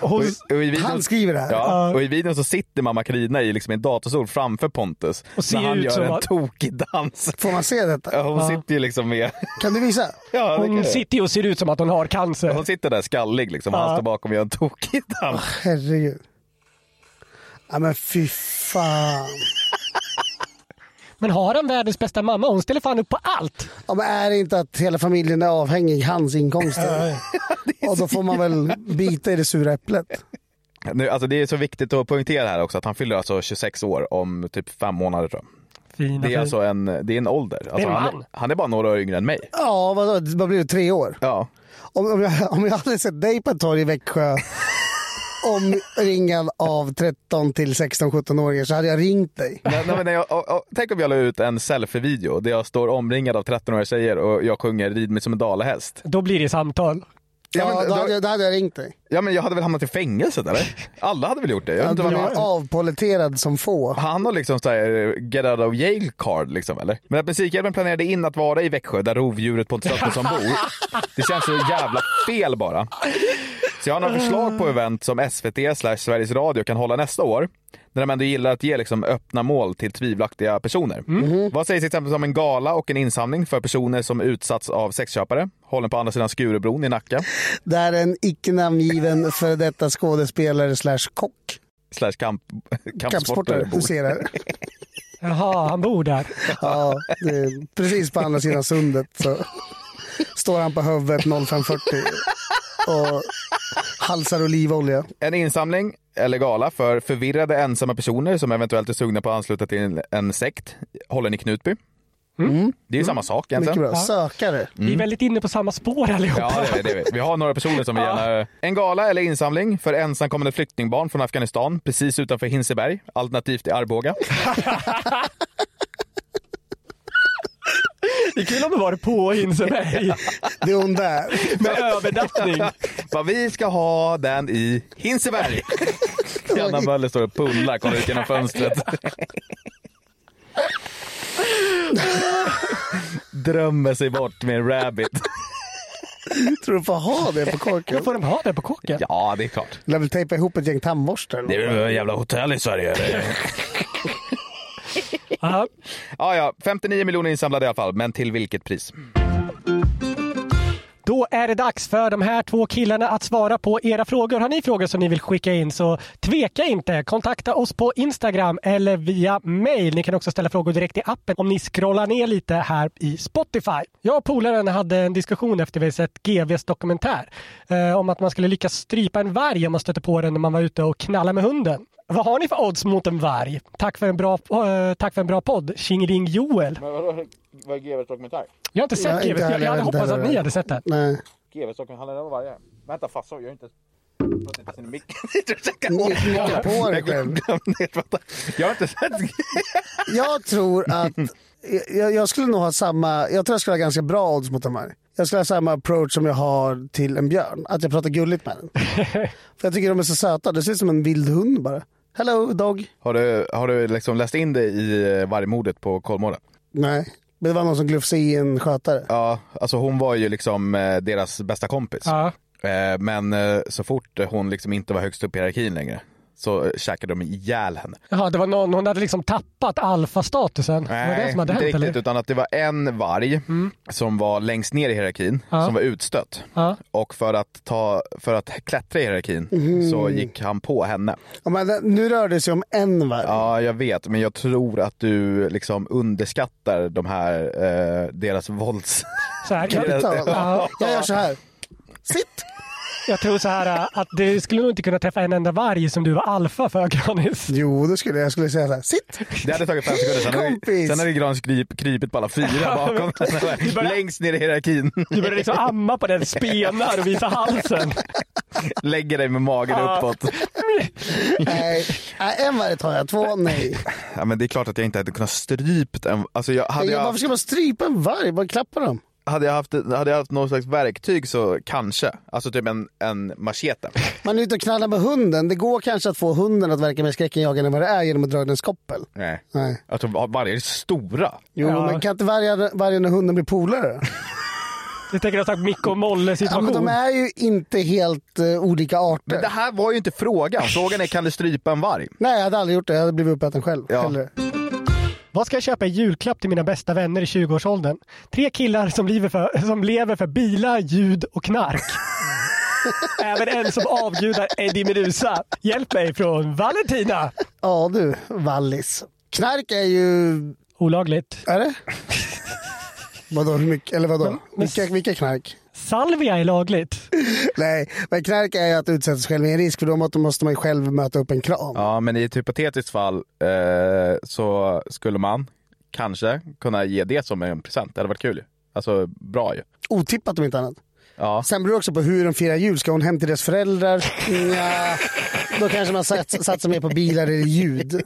Speaker 3: och, i- och i videon,
Speaker 1: Han skriver det här.
Speaker 3: ja, och i videon så sitter mamma Karina i liksom en datorstol framför Pontus
Speaker 2: Och ser
Speaker 3: när han
Speaker 2: ut
Speaker 3: gör
Speaker 2: som
Speaker 3: en
Speaker 2: att-
Speaker 3: tokig dans.
Speaker 1: Får man se detta?
Speaker 3: Ja, Hon sitter ju liksom med...
Speaker 1: Kan du visa?
Speaker 3: Ja, det kan
Speaker 2: Hon
Speaker 3: jag.
Speaker 2: sitter ju och ser ut som att hon har cancer.
Speaker 3: hon sitter där skallig liksom och han
Speaker 2: Ja.
Speaker 3: står bakom och gör en tokig dans.
Speaker 1: Herregud. Ja men fy fan.
Speaker 2: Men har han världens bästa mamma? Hon ställer fan upp på allt.
Speaker 1: Ja, men är det inte att hela familjen är avhängig hans inkomster? Och då får man väl bita i det sura äpplet.
Speaker 3: Nu, alltså det är så viktigt att poängtera här också att han fyller alltså 26 år om typ fem månader tror jag.
Speaker 2: Fina,
Speaker 3: Det är
Speaker 2: fin.
Speaker 3: alltså en, det är en ålder. Alltså
Speaker 2: en
Speaker 3: han,
Speaker 2: man.
Speaker 3: han är bara några år yngre än mig.
Speaker 1: Ja, vad, vad blir det? Tre år?
Speaker 3: Ja.
Speaker 1: Om, om, jag, om jag hade sett dig på ett torg i Växjö omringad av 13 till 16, 17-åringar så hade jag ringt dig.
Speaker 3: Nej, nej, men när jag, och, och, tänk om jag la ut en selfie-video där jag står omringad av 13-åriga tjejer och jag sjunger Rid mig som en dalahäst.
Speaker 2: Då blir det samtal.
Speaker 3: Ja,
Speaker 1: Ja,
Speaker 3: men,
Speaker 1: då,
Speaker 3: då,
Speaker 1: hade jag, då hade jag ringt dig.
Speaker 3: ja, men jag hade väl hamnat i fängelset eller? Alla hade väl gjort det? Jag vet
Speaker 1: Jag
Speaker 3: inte
Speaker 1: du
Speaker 3: vad
Speaker 1: blev
Speaker 3: han, har.
Speaker 1: avpoleterad som få.
Speaker 3: han har liksom så här get out of jail card liksom eller? Men att Musikhjälpen planerade in att vara i Växjö där rovdjuret Pontus Rasmusson bor. Det känns så jävla fel bara. Så jag har några förslag på event som SVT slash Sveriges Radio kan hålla nästa år. När de ändå gillar att ge liksom öppna mål till tvivelaktiga personer. Vad sägs till exempel om en gala och en insamling för personer som utsatts av sexköpare? Hållen på andra sidan Skurubron i Nacka.
Speaker 1: Där en icke namngiven före detta skådespelare slash kock.
Speaker 3: Slash kamp, kampsportare.
Speaker 1: Kampsportare. Du ser det.
Speaker 2: Jaha, han bor där.
Speaker 1: Ja, det är precis på andra sidan sundet så står han på huvudet 05.40 och halsar olivolja.
Speaker 3: En insamling är legala för förvirrade ensamma personer som eventuellt är sugna på att ansluta till en, en sekt, håller ni Knutby. Mm. Det är ju samma sak egentligen.
Speaker 1: Sökare.
Speaker 2: Vi är väldigt inne på samma spår allihopa.
Speaker 3: Mm. Ja, det är vi, det är vi. Vi har några personer som vi gärna... En gala eller insamling för ensamkommande flyktingbarn från Afghanistan precis utanför Hinseberg, alternativt i Arboga.
Speaker 2: Det är kul om det var på Hinseberg.
Speaker 1: Det onda är.
Speaker 2: Med övernattning.
Speaker 3: Vad vi ska ha den i Hinseberg. Janna Möller står och pullar, kollar ut genom fönstret. Drömmer sig bort med en rabbit.
Speaker 1: Tror du får ha det på korken?
Speaker 2: Får de ha det på kåken?
Speaker 3: Ja, det är klart.
Speaker 1: Lär väl tejpa ihop ett gäng tandborstar. eller
Speaker 3: Det är väl en jävla hotell i Sverige. eller?
Speaker 2: Ja.
Speaker 3: ja, ja, 59 miljoner insamlade i alla fall, men till vilket pris?
Speaker 2: Då är det dags för de här två killarna att svara på era frågor. Har ni frågor som ni vill skicka in så tveka inte. Kontakta oss på Instagram eller via mail. Ni kan också ställa frågor direkt i appen om ni scrollar ner lite här i Spotify. Jag och polaren hade en diskussion efter vi sett GVs dokumentär eh, om att man skulle lyckas strypa en varg om man stötte på den när man var ute och knallade med hunden. Vad har ni för odds mot en varg? Tack för en bra, eh, tack för en bra podd, Tjingeling Joel.
Speaker 3: Men vadå, vad är GWs dokumentär?
Speaker 2: Jag har inte sett
Speaker 1: inte
Speaker 2: GV, jag,
Speaker 1: heller,
Speaker 2: jag hade
Speaker 1: inte
Speaker 2: hoppats att
Speaker 1: heller.
Speaker 2: ni hade sett den.
Speaker 1: Nej.
Speaker 3: GWs dokumentär handlar om vargar. Vänta farsan, gör inte
Speaker 1: Nicka på dig själv.
Speaker 3: Jag har inte sett...
Speaker 1: Jag tror att... Jag, jag skulle nog ha samma... Jag tror jag skulle ha ganska bra odds mot de här. Jag skulle ha samma approach som jag har till en björn. Att jag pratar gulligt med den. För jag tycker de är så söta. Det ser ut som en vild hund bara. Hello dog.
Speaker 3: Har du, har du liksom läst in dig i eh, vargmordet på Kolmården?
Speaker 1: Nej. Men det var någon som glufsade i en skötare.
Speaker 3: Ja, alltså hon var ju liksom eh, deras bästa kompis.
Speaker 2: Ja.
Speaker 3: Eh, Men eh, så fort hon liksom inte var högst upp i hierarkin längre så eh, käkade de ihjäl henne.
Speaker 2: Jaha, det var någon, hon hade liksom tappat alfastatusen. var det som
Speaker 3: inte
Speaker 2: hade hänt
Speaker 3: riktigt,
Speaker 2: eller? Mm.
Speaker 3: utan att det var en varg som var längst ner i hierarkin
Speaker 2: Ja.
Speaker 3: som var utstött.
Speaker 2: Ja.
Speaker 3: Och för att, ta, för att klättra i hierarkin så gick han på henne.
Speaker 1: Ja, men det- nu rör det sig om en varg.
Speaker 3: Ja, jag vet, men jag tror att du liksom underskattar de här, eh, deras vålds...
Speaker 2: Så här, jag,
Speaker 1: Titta,
Speaker 2: Ja.
Speaker 1: Jag gör så här. Sitt!
Speaker 2: jag tror så här äh, att du skulle nog inte kunna träffa en enda varg som du var alfa för Granis.
Speaker 1: Jo, det skulle jag. Jag skulle säga så här. Sitt!
Speaker 3: Det hade tagit fem sekunder, sen hade,
Speaker 1: Kompis.
Speaker 3: sen hade Gran kryp, krypit på alla fyra bakom längst ner i hierarkin.
Speaker 2: Du började liksom amma på den, spenar och visa halsen.
Speaker 3: Lägger dig med magen
Speaker 2: Ja.
Speaker 3: uppåt.
Speaker 1: Nej, Nej, en varg tar jag. Två nej.
Speaker 3: Ja, men det är klart att jag inte hade kunnat strypt en... Alltså jag, hade, jag,
Speaker 1: jag, varför ska man strypa en varg? Bara klappa dem.
Speaker 3: hade, jag haft, hade jag haft något slags verktyg så kanske. Alltså typ en, en machete.
Speaker 1: Man är ute och knallar med hunden. Det går kanske att få hunden att verka mer skräckinjagande än vad det är genom att dra den en skoppel.
Speaker 3: Nej.
Speaker 1: Nej.
Speaker 3: Alltså vargar är stora.
Speaker 1: Jo,
Speaker 2: Ja.
Speaker 1: men kan inte vargen, vargen och hunden bli polare?
Speaker 2: Du tänker någon slags Micke och Molle
Speaker 1: Ja, men
Speaker 2: situation.
Speaker 1: de är ju inte helt eh, olika arter.
Speaker 3: Men det här var ju inte frågan. Frågan är kan du strypa en varg?
Speaker 1: Nej, jag hade aldrig gjort det. Jag hade blivit uppäten själv.
Speaker 3: Ja.
Speaker 1: Hellre.
Speaker 2: Vad ska jag köpa i julklapp till mina bästa vänner i 20-årsåldern? Tre killar som lever, för, som lever för bilar, ljud och knark. Även en som avgudar Eddie Meduza. Hjälp mig från Valentina.
Speaker 1: Ja du, Wallis. Knark är ju...
Speaker 2: Olagligt.
Speaker 1: Är det? vadå? Hur mycket? Eller vadå? Vilka, vilka knark?
Speaker 2: Salvia är lagligt.
Speaker 1: Nej, men knark är ju att utsätta sig själv för en risk för då måste- måste man ju själv möta upp en kram.
Speaker 3: Ja, men i ett hypotetiskt fall eh, så skulle man kanske kunna ge det som en present. Det hade varit kul ju. Alltså bra ju.
Speaker 1: Otippat om inte annat.
Speaker 3: Ja.
Speaker 1: Sen beror det också på hur de firar jul. Ska hon hem till deras föräldrar? Ja, då kanske man sats, satsar mer på bilar eller ljud.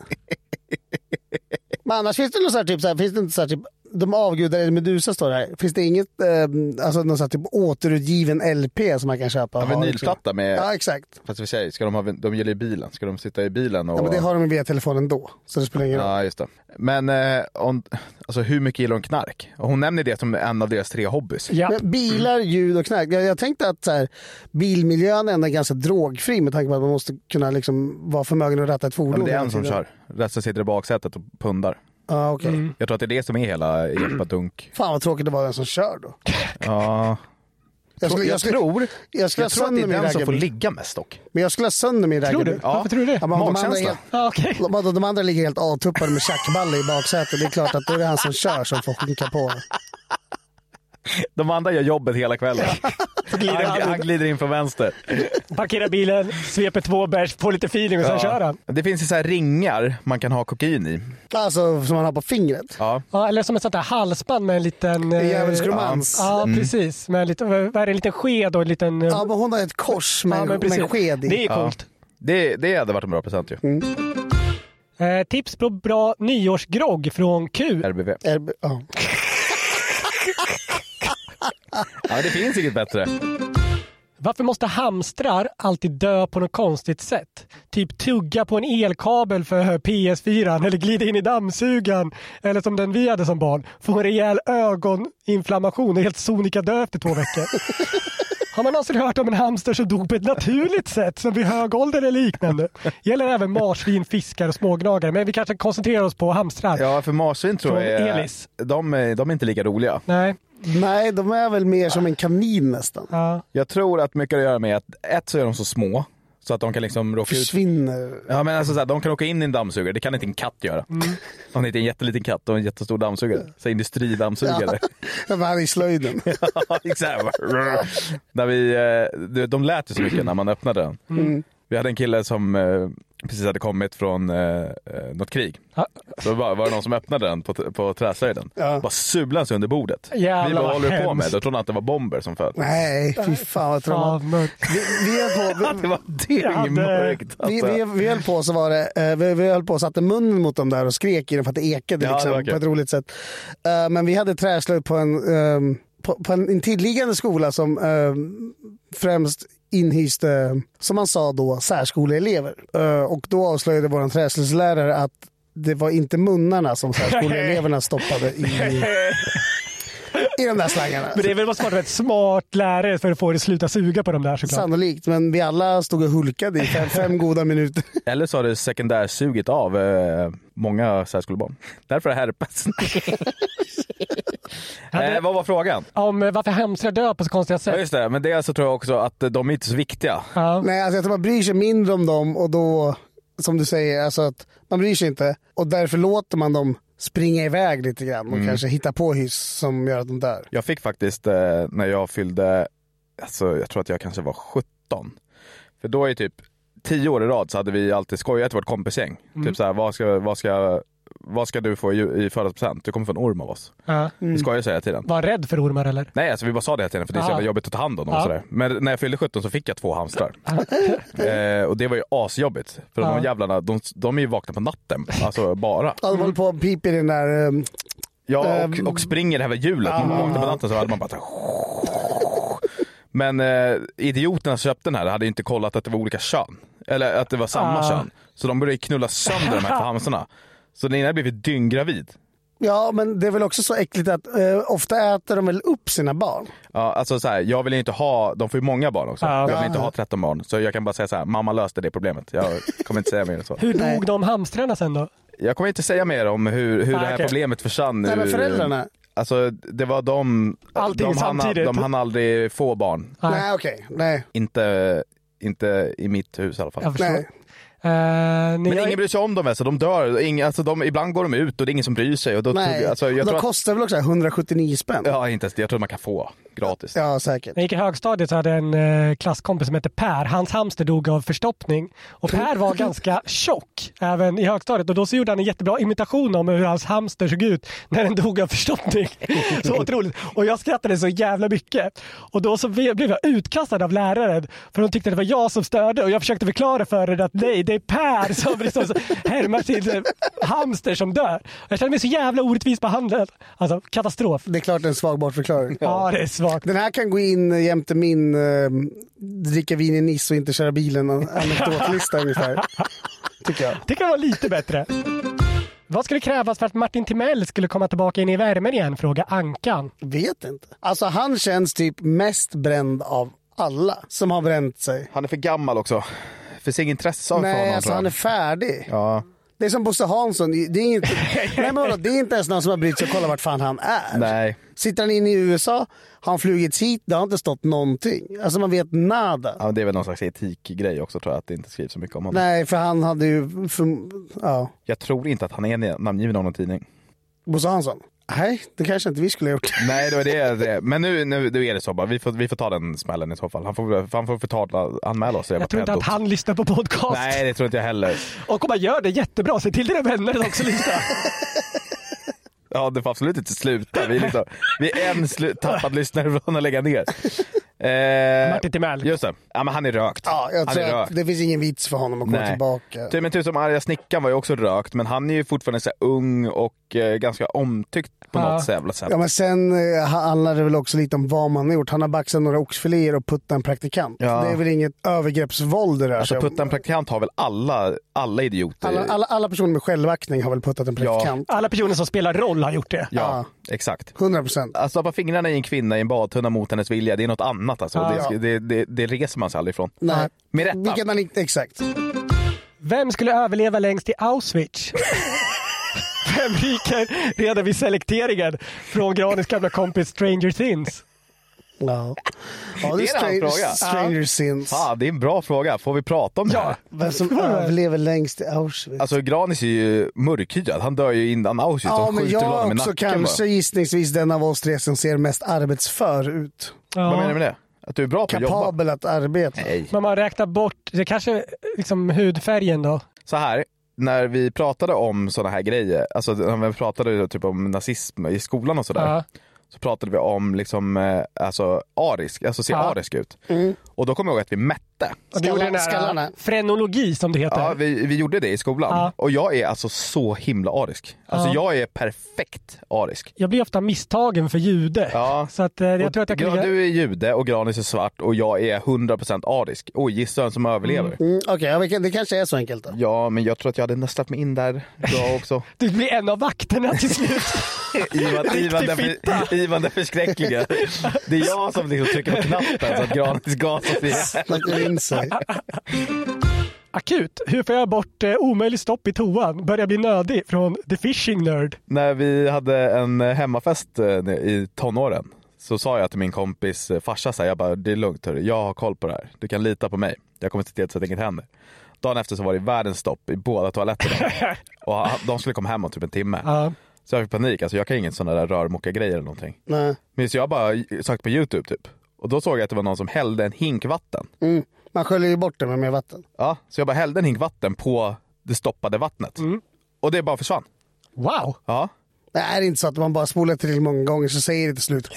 Speaker 1: Men annars finns det något så här, typ, så här, finns det inte så här, typ, de avgudar eller Medusa står det här. Finns det inget, eh, alltså någon så här, typ återutgiven LP som man kan köpa? och
Speaker 3: Ja,
Speaker 1: ha,
Speaker 3: vinylplatta med...
Speaker 1: Liksom? Ja, exakt.
Speaker 3: Fast i och för sig, ska de, ha, de gäller ju bilen. Ska de sitta i bilen och...
Speaker 1: Ja, men det har de ju via telefonen då, så det spelar ingen roll.
Speaker 3: Ja, just det. Men eh, om, alltså, hur mycket gillar hon knark? Och hon nämner det som en av deras tre hobbys.
Speaker 2: Ja.
Speaker 1: Men bilar, ljud och knark. Jag, jag tänkte att så här, bilmiljön ändå är ganska drogfri med tanke på att man måste kunna liksom, vara förmögen att ratta ett
Speaker 3: Ja,
Speaker 1: fordon.
Speaker 3: men det är
Speaker 1: hela
Speaker 3: en som
Speaker 1: tiden.
Speaker 3: kör. Resten sitter i baksätet och pundar.
Speaker 1: Ja, okej.
Speaker 2: Mm.
Speaker 3: Jag tror att det är det som är hela Jeppa Dunk.
Speaker 1: Fan vad tråkigt det var den som kör då.
Speaker 3: Ja.
Speaker 1: Jag skulle, jag
Speaker 3: jag
Speaker 1: skulle,
Speaker 3: tror,
Speaker 1: jag skulle
Speaker 3: jag
Speaker 1: ha
Speaker 3: tror att det
Speaker 1: sönder
Speaker 3: är
Speaker 1: min
Speaker 3: den som får
Speaker 1: raggarbil.
Speaker 3: ligga mest dock.
Speaker 1: Men jag skulle ha sönder min
Speaker 2: Tror
Speaker 1: raggarbil.
Speaker 2: du? Varför tror du det?
Speaker 1: Ja, men om de, andra är
Speaker 3: Magkänsla.
Speaker 1: helt,
Speaker 2: Ja, Okej.
Speaker 1: de, vadå, de andra ligger helt avtuppade med tjackballe i baksätet. Det är klart att då är det han som kör som får sjunka på.
Speaker 3: De andra gör jobbet hela kvällen.
Speaker 2: glider
Speaker 3: han,
Speaker 2: han-
Speaker 3: han glider in från vänster.
Speaker 2: Parkerar bilen, sveper två bärs, får lite feeling och sen kör han.
Speaker 3: Det finns ju så här ringar man kan ha kokain i.
Speaker 1: Alltså som man har på fingret.
Speaker 3: Ja.
Speaker 2: Ja, eller som ett sånt där halsband med en liten... eh,
Speaker 1: En djävulskromans.
Speaker 2: Ja,
Speaker 1: Mm.
Speaker 2: precis. Med en liten, vad är det, en liten sked och en liten... eh,
Speaker 1: Ja, men hon har ett kors med,
Speaker 2: Ja, men
Speaker 1: med
Speaker 2: precis.
Speaker 1: en sked i.
Speaker 2: Det är coolt.
Speaker 3: Ja. Det, det hade varit en bra present ju.
Speaker 2: Eh, tips på bra nyårsgrogg från Q.
Speaker 3: RBV.
Speaker 1: RB, ja.
Speaker 3: Ja, det finns inget bättre.
Speaker 2: Varför måste hamstrar alltid dö på något konstigt sätt? Typ tugga på en elkabel för PS4 eller glida in i dammsugan eller som den vi hade som barn, få en rejäl ögoninflammation och helt sonika dö efter två veckor. Har man någonsin hört om en hamster som dog på ett naturligt sätt som vid hög ålder eller liknande? Gäller även marsvin, fiskar och smågnagare men vi kanske koncentrerar oss på hamstrar.
Speaker 3: Ja, för marsvin tror
Speaker 2: Från
Speaker 3: jag är,
Speaker 2: Elis.
Speaker 3: de, är- de är inte lika roliga.
Speaker 2: Nej.
Speaker 1: Nej, de är väl mer som en kanin nästan.
Speaker 3: Jag tror att mycket har att göra med att ett så är de så små så att de kan liksom råka ut
Speaker 1: Försvinner.
Speaker 3: Ja men alltså såhär, de kan åka in i en dammsugare, det kan inte en katt göra.
Speaker 1: Mm.
Speaker 3: Om det inte är en jätteliten katt och en jättestor dammsugare. Så här industridammsugare.
Speaker 1: Ja, men Han är i slöjden.
Speaker 3: Ja. exakt. Där vi, eh, du vet, de lät ju så mycket när man öppnade den.
Speaker 1: Mm.
Speaker 3: Vi hade en kille som eh, precis hade kommit från eh, eh, något krig. Då var, var det någon som öppnade den på, t- på träslöjden. Bara sulade sig under bordet.
Speaker 1: Jävlar,
Speaker 3: vi bara,
Speaker 1: vad
Speaker 3: håller du på med?
Speaker 1: hemskt."
Speaker 3: Då trodde han att det var bomber som föll.
Speaker 1: Nej, fy fan vad
Speaker 2: Fan,
Speaker 1: trauma. Vi, vi är på...
Speaker 3: det var dyngmörkt.
Speaker 1: Vi,
Speaker 3: alltså.
Speaker 1: vi, vi höll på så var det, eh, vi, vi höll på och satte munnen mot dem där och skrek i dem för att det ekade
Speaker 3: Ja, det
Speaker 1: liksom,
Speaker 3: var kul.
Speaker 1: på ett roligt sätt. Eh, Men vi hade träslöjd på en, ehm, på, på en intilliggande skola som ehm, främst inhyste, som man sa då, särskoleelever. Eh, Och då avslöjade vår träslöjdslärare att det var inte munnarna som särskoleeleverna stoppade i, i de där slangarna.
Speaker 2: Men det är väl måste vara ett smart lärare för att få det att sluta suga på de där såklart.
Speaker 1: Sannolikt, men vi alla stod och hulkade i fem, fem goda minuter.
Speaker 3: Eller så har det sekundärsugit av eh, många särskolebarn. Därför är herpes. eh, vad var frågan?
Speaker 2: Om eh, varför hamstrar dör på så konstiga
Speaker 3: Ja,
Speaker 2: sätt.
Speaker 3: just det, men det så tror jag också att eh, de är inte så viktiga.
Speaker 1: Nej, alltså jag tror man bryr sig mindre om dem och då, som du säger, alltså att man bryr sig inte och därför låter man dem springa iväg lite grann och
Speaker 3: Mm.
Speaker 1: kanske hitta på hyss som gör att de dör.
Speaker 3: Jag fick faktiskt eh, när jag fyllde, alltså, jag tror att jag kanske var 17. För då är typ 10 år i rad så hade vi alltid skojat i vårt kompisgäng.
Speaker 2: Mm.
Speaker 3: Typ så här, vad ska, vad, ska, vad ska du få i, ju- i födelsedagspresent? Du kommer få en orm av oss.
Speaker 2: Ja.
Speaker 3: Vi skojar så hela tiden.
Speaker 2: Var rädd för ormar eller?
Speaker 3: Nej, alltså vi bara sa det hela tiden för det är så
Speaker 2: Ah.
Speaker 3: jävla jobbigt att ta hand om dem. och
Speaker 2: Ja.
Speaker 3: Sådär. Men när jag fyllde 17 så fick jag två hamstrar. eh, och det var ju asjobbigt. För
Speaker 1: Ja.
Speaker 3: de jävlarna, de, de är ju vakna på natten. Alltså bara.
Speaker 1: Ja, de håller på och piper i den där... ehm,
Speaker 3: Ja,
Speaker 1: ehm,
Speaker 3: och, och springer det här med hjulet. Man
Speaker 1: Ah.
Speaker 3: vaknar på natten så hade man bara så här... Men eh, idioterna som köpte den här hade ju inte kollat att det var olika kön. Eller att det var samma
Speaker 1: Ah.
Speaker 3: kön. Så de började ju knulla sönder de här hamstrarna. Så den ena blev ju dynggravid.
Speaker 1: Ja, men det är väl också så äckligt att eh, ofta äter de väl upp sina barn.
Speaker 3: Ja, alltså så här, jag vill inte ha, de får ju många barn också.
Speaker 1: Ja.
Speaker 3: jag vill inte ha 13 barn. Så jag kan bara säga så här, mamma löste det problemet. Jag kommer inte säga mer än så.
Speaker 2: Hur dog de hamstrarna sen då?
Speaker 3: Jag kommer inte säga mer om hur, hur
Speaker 2: Ah,
Speaker 3: det här
Speaker 2: okej.
Speaker 3: problemet försvann.
Speaker 2: Nej, men
Speaker 3: ur-
Speaker 2: föräldrarna?
Speaker 3: Alltså det var de,
Speaker 2: Allting
Speaker 3: de,
Speaker 2: samtidigt.
Speaker 3: de hann aldrig få barn.
Speaker 1: Nej, okej. Nej.
Speaker 3: Inte, inte i mitt hus i alla fall.
Speaker 2: Jag förstår. Eh,
Speaker 3: Men ingen bryr sig om dem så de dör. Ing, alltså de, ibland går de ut och det är ingen som bryr sig. Och då
Speaker 1: Nej.
Speaker 3: Tog, alltså, jag
Speaker 1: de
Speaker 3: tror att,
Speaker 1: kostar väl också 179 spänn?
Speaker 3: ja, inte ens det. Jag tror man kan få gratis.
Speaker 1: Ja, säkert.
Speaker 2: När jag gick i högstadiet så hade jag en eh, klasskompis som hette Per. Hans hamster dog av förstoppning. Och Per var ganska tjock även i högstadiet. Och då så gjorde han en jättebra imitation om hur hans hamster såg ut när den dog av förstoppning. Så otroligt. Och jag skrattade så jävla mycket. Och då så blev blev jag utkastad av läraren. För de tyckte det var jag som störde. Och jag försökte förklara för henne att nej, det är Per som liksom härmar sin eh, hamster som dör. Jag kände mig så jävla orättvis behandlad. Alltså katastrof.
Speaker 1: Det är klart en svag bortförklaring.
Speaker 2: Ja, det är svagt.
Speaker 1: Den här kan gå in jämte min ehm, dricka vin i Nice och inte köra bilen anekdotlista ungefär. Tycker jag.
Speaker 2: Det kan vara lite bättre. Vad skulle krävas för att Martin Timell skulle komma tillbaka in i värmen igen? Fråga Ankan.
Speaker 1: Vet inte. Alltså han känns typ mest bränd av alla som har bränt sig.
Speaker 3: Han är för gammal också. Finns inget intresse av
Speaker 1: Nej,
Speaker 3: honom
Speaker 1: alltså
Speaker 3: tror jag.
Speaker 1: han är färdig.
Speaker 3: Ja.
Speaker 1: Det är som Bosse Hansson. Det är, inte, nej, men vadå, det är inte ens någon som har brytt sig och kollat vart fan han är.
Speaker 3: Nej.
Speaker 1: Sitter han inne i USA, har han flugits hit, det har inte stått någonting. Alltså man vet nada.
Speaker 3: Ja, men det är väl någon slags etikgrej också tror jag, att det inte skrivs så mycket om honom.
Speaker 1: Nej, för han hade ju... För, ja,
Speaker 3: Jag tror inte att han är namngiven av någon tidning.
Speaker 1: Bosse Hansson. Nej, det kanske inte vi skulle ha gjort.
Speaker 3: Nej, det var det. det. Men nu, nu, nu är det så bara. Vi får, vi får ta den smällen i så fall. Han får, han får förtala, anmäla oss.
Speaker 2: Jag tror inte att han lyssnar på podcast.
Speaker 3: Nej, det tror inte jag heller.
Speaker 2: Och om man gör det jättebra, se till dina vänner också lyssna.
Speaker 3: Ja, det får absolut inte sluta. Vi är, liksom, vi är en slu- tappad lyssnare från att lägga ner. Eh,
Speaker 2: Martin Timell.
Speaker 3: Just det. Ja, men han är rökt.
Speaker 1: Ja, jag
Speaker 3: han
Speaker 1: tror
Speaker 3: är
Speaker 1: att
Speaker 3: rökt.
Speaker 1: det finns ingen vits för honom att komma
Speaker 3: Nej.
Speaker 1: tillbaka.
Speaker 3: Ty, men typ som arga snickaren var ju också rökt, men han är ju fortfarande så här ung och eh, ganska omtyckt på
Speaker 1: Ja.
Speaker 3: något så jävla sätt.
Speaker 1: Ja, men sen eh, handlar det väl också lite om vad man har gjort. Han har baxat några oxfiléer och puttat en praktikant.
Speaker 3: Ja.
Speaker 1: Det är väl inget övergreppsvåld det rör sig
Speaker 3: Alltså
Speaker 1: om.
Speaker 3: putta en praktikant har väl alla, alla idioter?
Speaker 1: Alla, alla, alla personer med självaktning har väl puttat en praktikant.
Speaker 2: Alla personer som spelar roll har gjort det.
Speaker 3: Ja, exakt.
Speaker 1: 100 procent.
Speaker 3: Att stoppa Alltså, fingrarna i en kvinna i en badtunna mot hennes vilja, det är något annat alltså.
Speaker 2: Ja.
Speaker 3: Det, sk- det, det, det reser man sig aldrig ifrån.
Speaker 1: Nej.
Speaker 3: Med rätta.
Speaker 1: Vilket man inte, exakt.
Speaker 2: Vem skulle överleva längst i Auschwitz? Vem ryker redan vid selekteringen från Granis gamla kompis Stranger Things?
Speaker 1: Ja.
Speaker 3: Det
Speaker 1: Ja, det
Speaker 3: är en annan
Speaker 1: är
Speaker 3: fråga.
Speaker 1: stra- Stranger Sins.
Speaker 3: Ja, det är en bra fråga. Får vi prata om det här?
Speaker 1: Vem som överlever längst i Auschwitz?
Speaker 3: Alltså Granis är ju mörkhyad. Han dör ju innan Auschwitz.
Speaker 1: Ja,
Speaker 3: typ, De
Speaker 1: men
Speaker 3: skjuter väl
Speaker 1: jag
Speaker 3: honom i
Speaker 1: också
Speaker 3: nacken bara.
Speaker 1: kanske gissningsvis den av oss tre som ser mest arbetsför ut.
Speaker 2: Ja.
Speaker 3: Vad menar du med det? Att du är bra på att jobba?
Speaker 1: Kapabel att arbeta.
Speaker 3: Nej.
Speaker 2: Men man räknar bort, det kanske liksom hudfärgen då?
Speaker 3: Så här, när vi pratade om sådana här grejer, alltså när vi pratade typ om nazism i skolan och sådär.
Speaker 2: Ja.
Speaker 3: Så pratade vi om liksom, eh, alltså arisk, alltså se
Speaker 2: Ja.
Speaker 3: arisk ut.
Speaker 1: Mm.
Speaker 3: Och då kommer jag ihåg att vi mätte.
Speaker 2: Och du
Speaker 1: Skallar-
Speaker 2: gjorde den
Speaker 1: skallarna.
Speaker 2: där frenologi som det heter.
Speaker 3: Ja, vi, vi gjorde det i skolan.
Speaker 2: Ja.
Speaker 3: Och jag är alltså så himla arisk. Alltså
Speaker 2: Ja.
Speaker 3: jag är perfekt arisk.
Speaker 2: Jag blir ofta misstagen för jude.
Speaker 3: Ja.
Speaker 2: Så att, eh, jag
Speaker 3: Och
Speaker 2: tror att jag kan
Speaker 3: Gra-
Speaker 2: ligga...
Speaker 3: Du är jude och Granis är svart och jag är 100% arisk. Oj, gissa vem som överlever.
Speaker 1: Mm, Okej, ja, vi kan- det kanske är så enkelt då.
Speaker 3: Ja, men jag tror att jag hade nästlat mig in där bra också.
Speaker 2: Du blir en av vakterna till slut.
Speaker 3: Ivan, Ivan, den, för, Ivan den förskräckliga. Det är jag som liksom trycker på knappen så att Granis gasas ihjäl.
Speaker 1: Lagt in sig.
Speaker 2: Akut. Hur får jag bort eh, omöjlig stopp i toan? Börjar bli nödig från The Fishing Nerd.
Speaker 3: När vi hade en hemmafest eh, i tonåren så sa jag till min kompis eh, farsa så här, jag bara det är lugnt hörru, jag har koll på det här. Du kan lita på mig. Jag kommer se till så att inget händer. Dagen efter så var det världens stopp i båda toaletterna. Och han- de skulle komma hem om typ en timme.
Speaker 2: Ja.
Speaker 3: Så jag fick panik, alltså jag kan inget sådana där rörmokargrejer eller någonting.
Speaker 1: Nej.
Speaker 3: Men så jag bara eh, sökte på youtube typ. Och då såg jag att det var någon som hällde en hink vatten.
Speaker 1: Mm. Man sköljer ju bort det med mer vatten.
Speaker 3: Ja, så jag bara hällde en hink vatten på det stoppade vattnet. Och det bara försvann.
Speaker 2: Wow!
Speaker 3: Ja.
Speaker 1: Det är inte så att man bara spolar till många gånger så säger det till slut.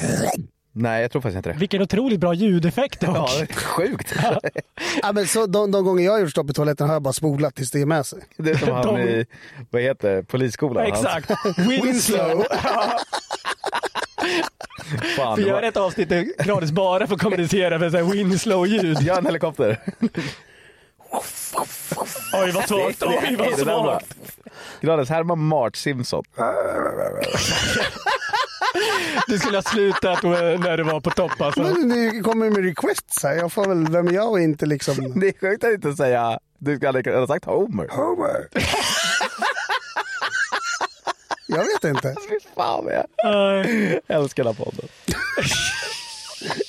Speaker 3: Nej, jag tror faktiskt inte det.
Speaker 2: Vilken otroligt bra ljudeffekt dock.
Speaker 3: Ja, det är sjukt.
Speaker 1: ja, men så de, de gånger jag har gjort stopp i toaletten har jag bara spolat tills det är med sig.
Speaker 3: Det är som han i, vad heter det, polisskolan.
Speaker 2: Exakt. Winslow.
Speaker 3: Han, fan,
Speaker 2: Vi
Speaker 3: det
Speaker 2: gör
Speaker 3: var,
Speaker 2: ett avsnitt där gratis bara för att kommunicera med så här Winslow-ljud.
Speaker 3: gör en helikopter.
Speaker 2: Oj vad svagt, oj vad
Speaker 3: Det där var-
Speaker 2: svagt.
Speaker 3: Gladys härma Mart Simpson.
Speaker 2: Du skulle ha slutat eh, när du var på topp alltså.
Speaker 1: Men ni kommer med requests här. Jag får väl, vem är jag och inte liksom.
Speaker 3: Det är sjukt att inte säga, du skulle aldrig ha sagt Homer. Homer.
Speaker 1: Jag vet inte.
Speaker 3: Fy fan vad jag
Speaker 2: Eh,
Speaker 3: älskar den här podden.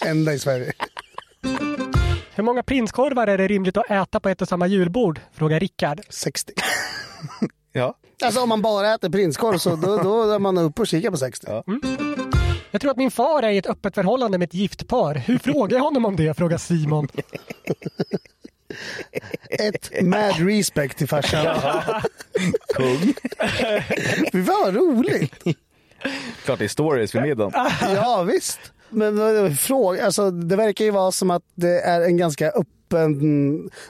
Speaker 1: Enda i Sverige.
Speaker 2: Hur många prinskorvar är det rimligt att äta på ett och samma julbord? Frågar Rickard.
Speaker 1: 60.
Speaker 3: Ja.
Speaker 1: Alltså om man bara äter prinskorv så då, då är man uppe och kikar på 60.
Speaker 3: Ja.
Speaker 2: Jag tror att min far är i ett öppet förhållande med ett gift par. Hur frågar jag honom om det? Frågar Simon.
Speaker 1: Ett mad respect till farsan. Kung. Fy fan vad roligt.
Speaker 3: Klart det är stories vid middagen.
Speaker 2: Ah.
Speaker 1: Ja visst. Men vad är det för fråga, alltså, det verkar ju vara som att det är en ganska öppen,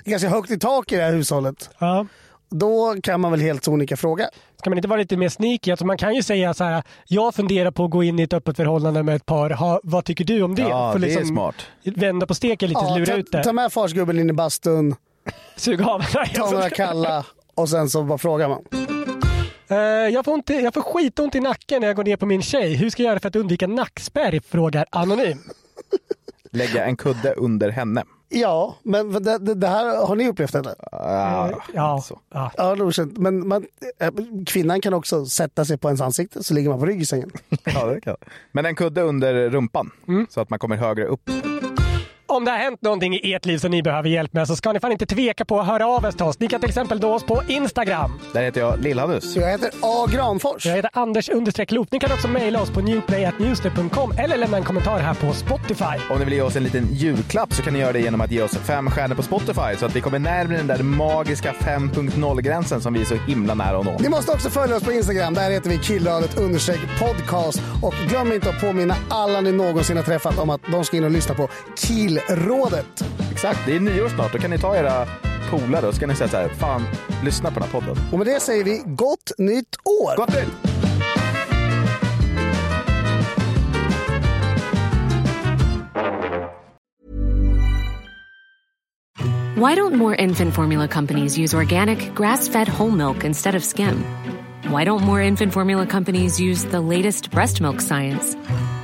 Speaker 1: ganska högt i tak i det här hushållet.
Speaker 2: Ja.
Speaker 1: Då kan man väl helt sonika fråga.
Speaker 2: Ska man inte vara lite mer sneaky? Alltså man kan ju säga så här, jag funderar på att gå in i ett öppet förhållande med ett par. Ha, vad tycker du om det?
Speaker 3: Ja,
Speaker 2: För
Speaker 3: det är
Speaker 2: liksom
Speaker 3: smart.
Speaker 2: Vända på steken lite,
Speaker 1: Ja,
Speaker 2: lura
Speaker 1: ta,
Speaker 2: ut det.
Speaker 1: ta med farsgubben in i bastun,
Speaker 2: Sug av. Nej,
Speaker 1: ta
Speaker 2: alltså.
Speaker 1: några kalla och sen så bara frågar man.
Speaker 2: Eh, jag, får inte, jag får skitont i nacken när jag går ner på min tjej. Hur ska jag göra för att undvika nackspärr? Frågar Anonym.
Speaker 3: Lägga en kudde under henne.
Speaker 1: Ja, men det, det, det här har ni upplevt eller?
Speaker 3: Ah,
Speaker 2: ja.
Speaker 3: så.
Speaker 2: ja.
Speaker 1: Ja, det är okänt. Men man, eh, kvinnan kan också sätta sig på ens ansikte så ligger man på rygg i sängen.
Speaker 2: Mm.
Speaker 3: Ja, det kan. Men en kudde under rumpan så att man kommer högre upp.
Speaker 2: Om det har hänt någonting i ert liv som ni behöver hjälp med så ska ni fan inte tveka på att höra av er till oss. Ni kan till exempel nå oss på Instagram.
Speaker 3: Där heter jag Lillhannes.
Speaker 1: Jag heter A. Granfors.
Speaker 2: Jag heter Anders understreck Loop. Ni kan också mejla oss på newplay.newster.com eller lämna en kommentar här på Spotify.
Speaker 3: Om ni vill ge oss en liten julklapp så kan ni göra det genom att ge oss fem stjärnor på Spotify så att vi kommer närmare den där magiska 5.0-gränsen som vi är så himla nära att nå.
Speaker 1: Ni måste också följa oss på Instagram. Där heter vi killradet understreck podcast. Och glöm inte att påminna alla ni någonsin har träffat om att de ska in och lyssna på Killrådet.
Speaker 3: Exakt, det är nyår snart. Då kan ni ta era polare och så kan ni säga så här, fan, lyssna på den här podden.
Speaker 1: Och med det säger vi gott nytt år!
Speaker 3: Gott nytt!
Speaker 8: Why don't more infant formula companies use organic, grass fed whole milk instead of skim? Why don't more infant formula companies use the latest breast milk science?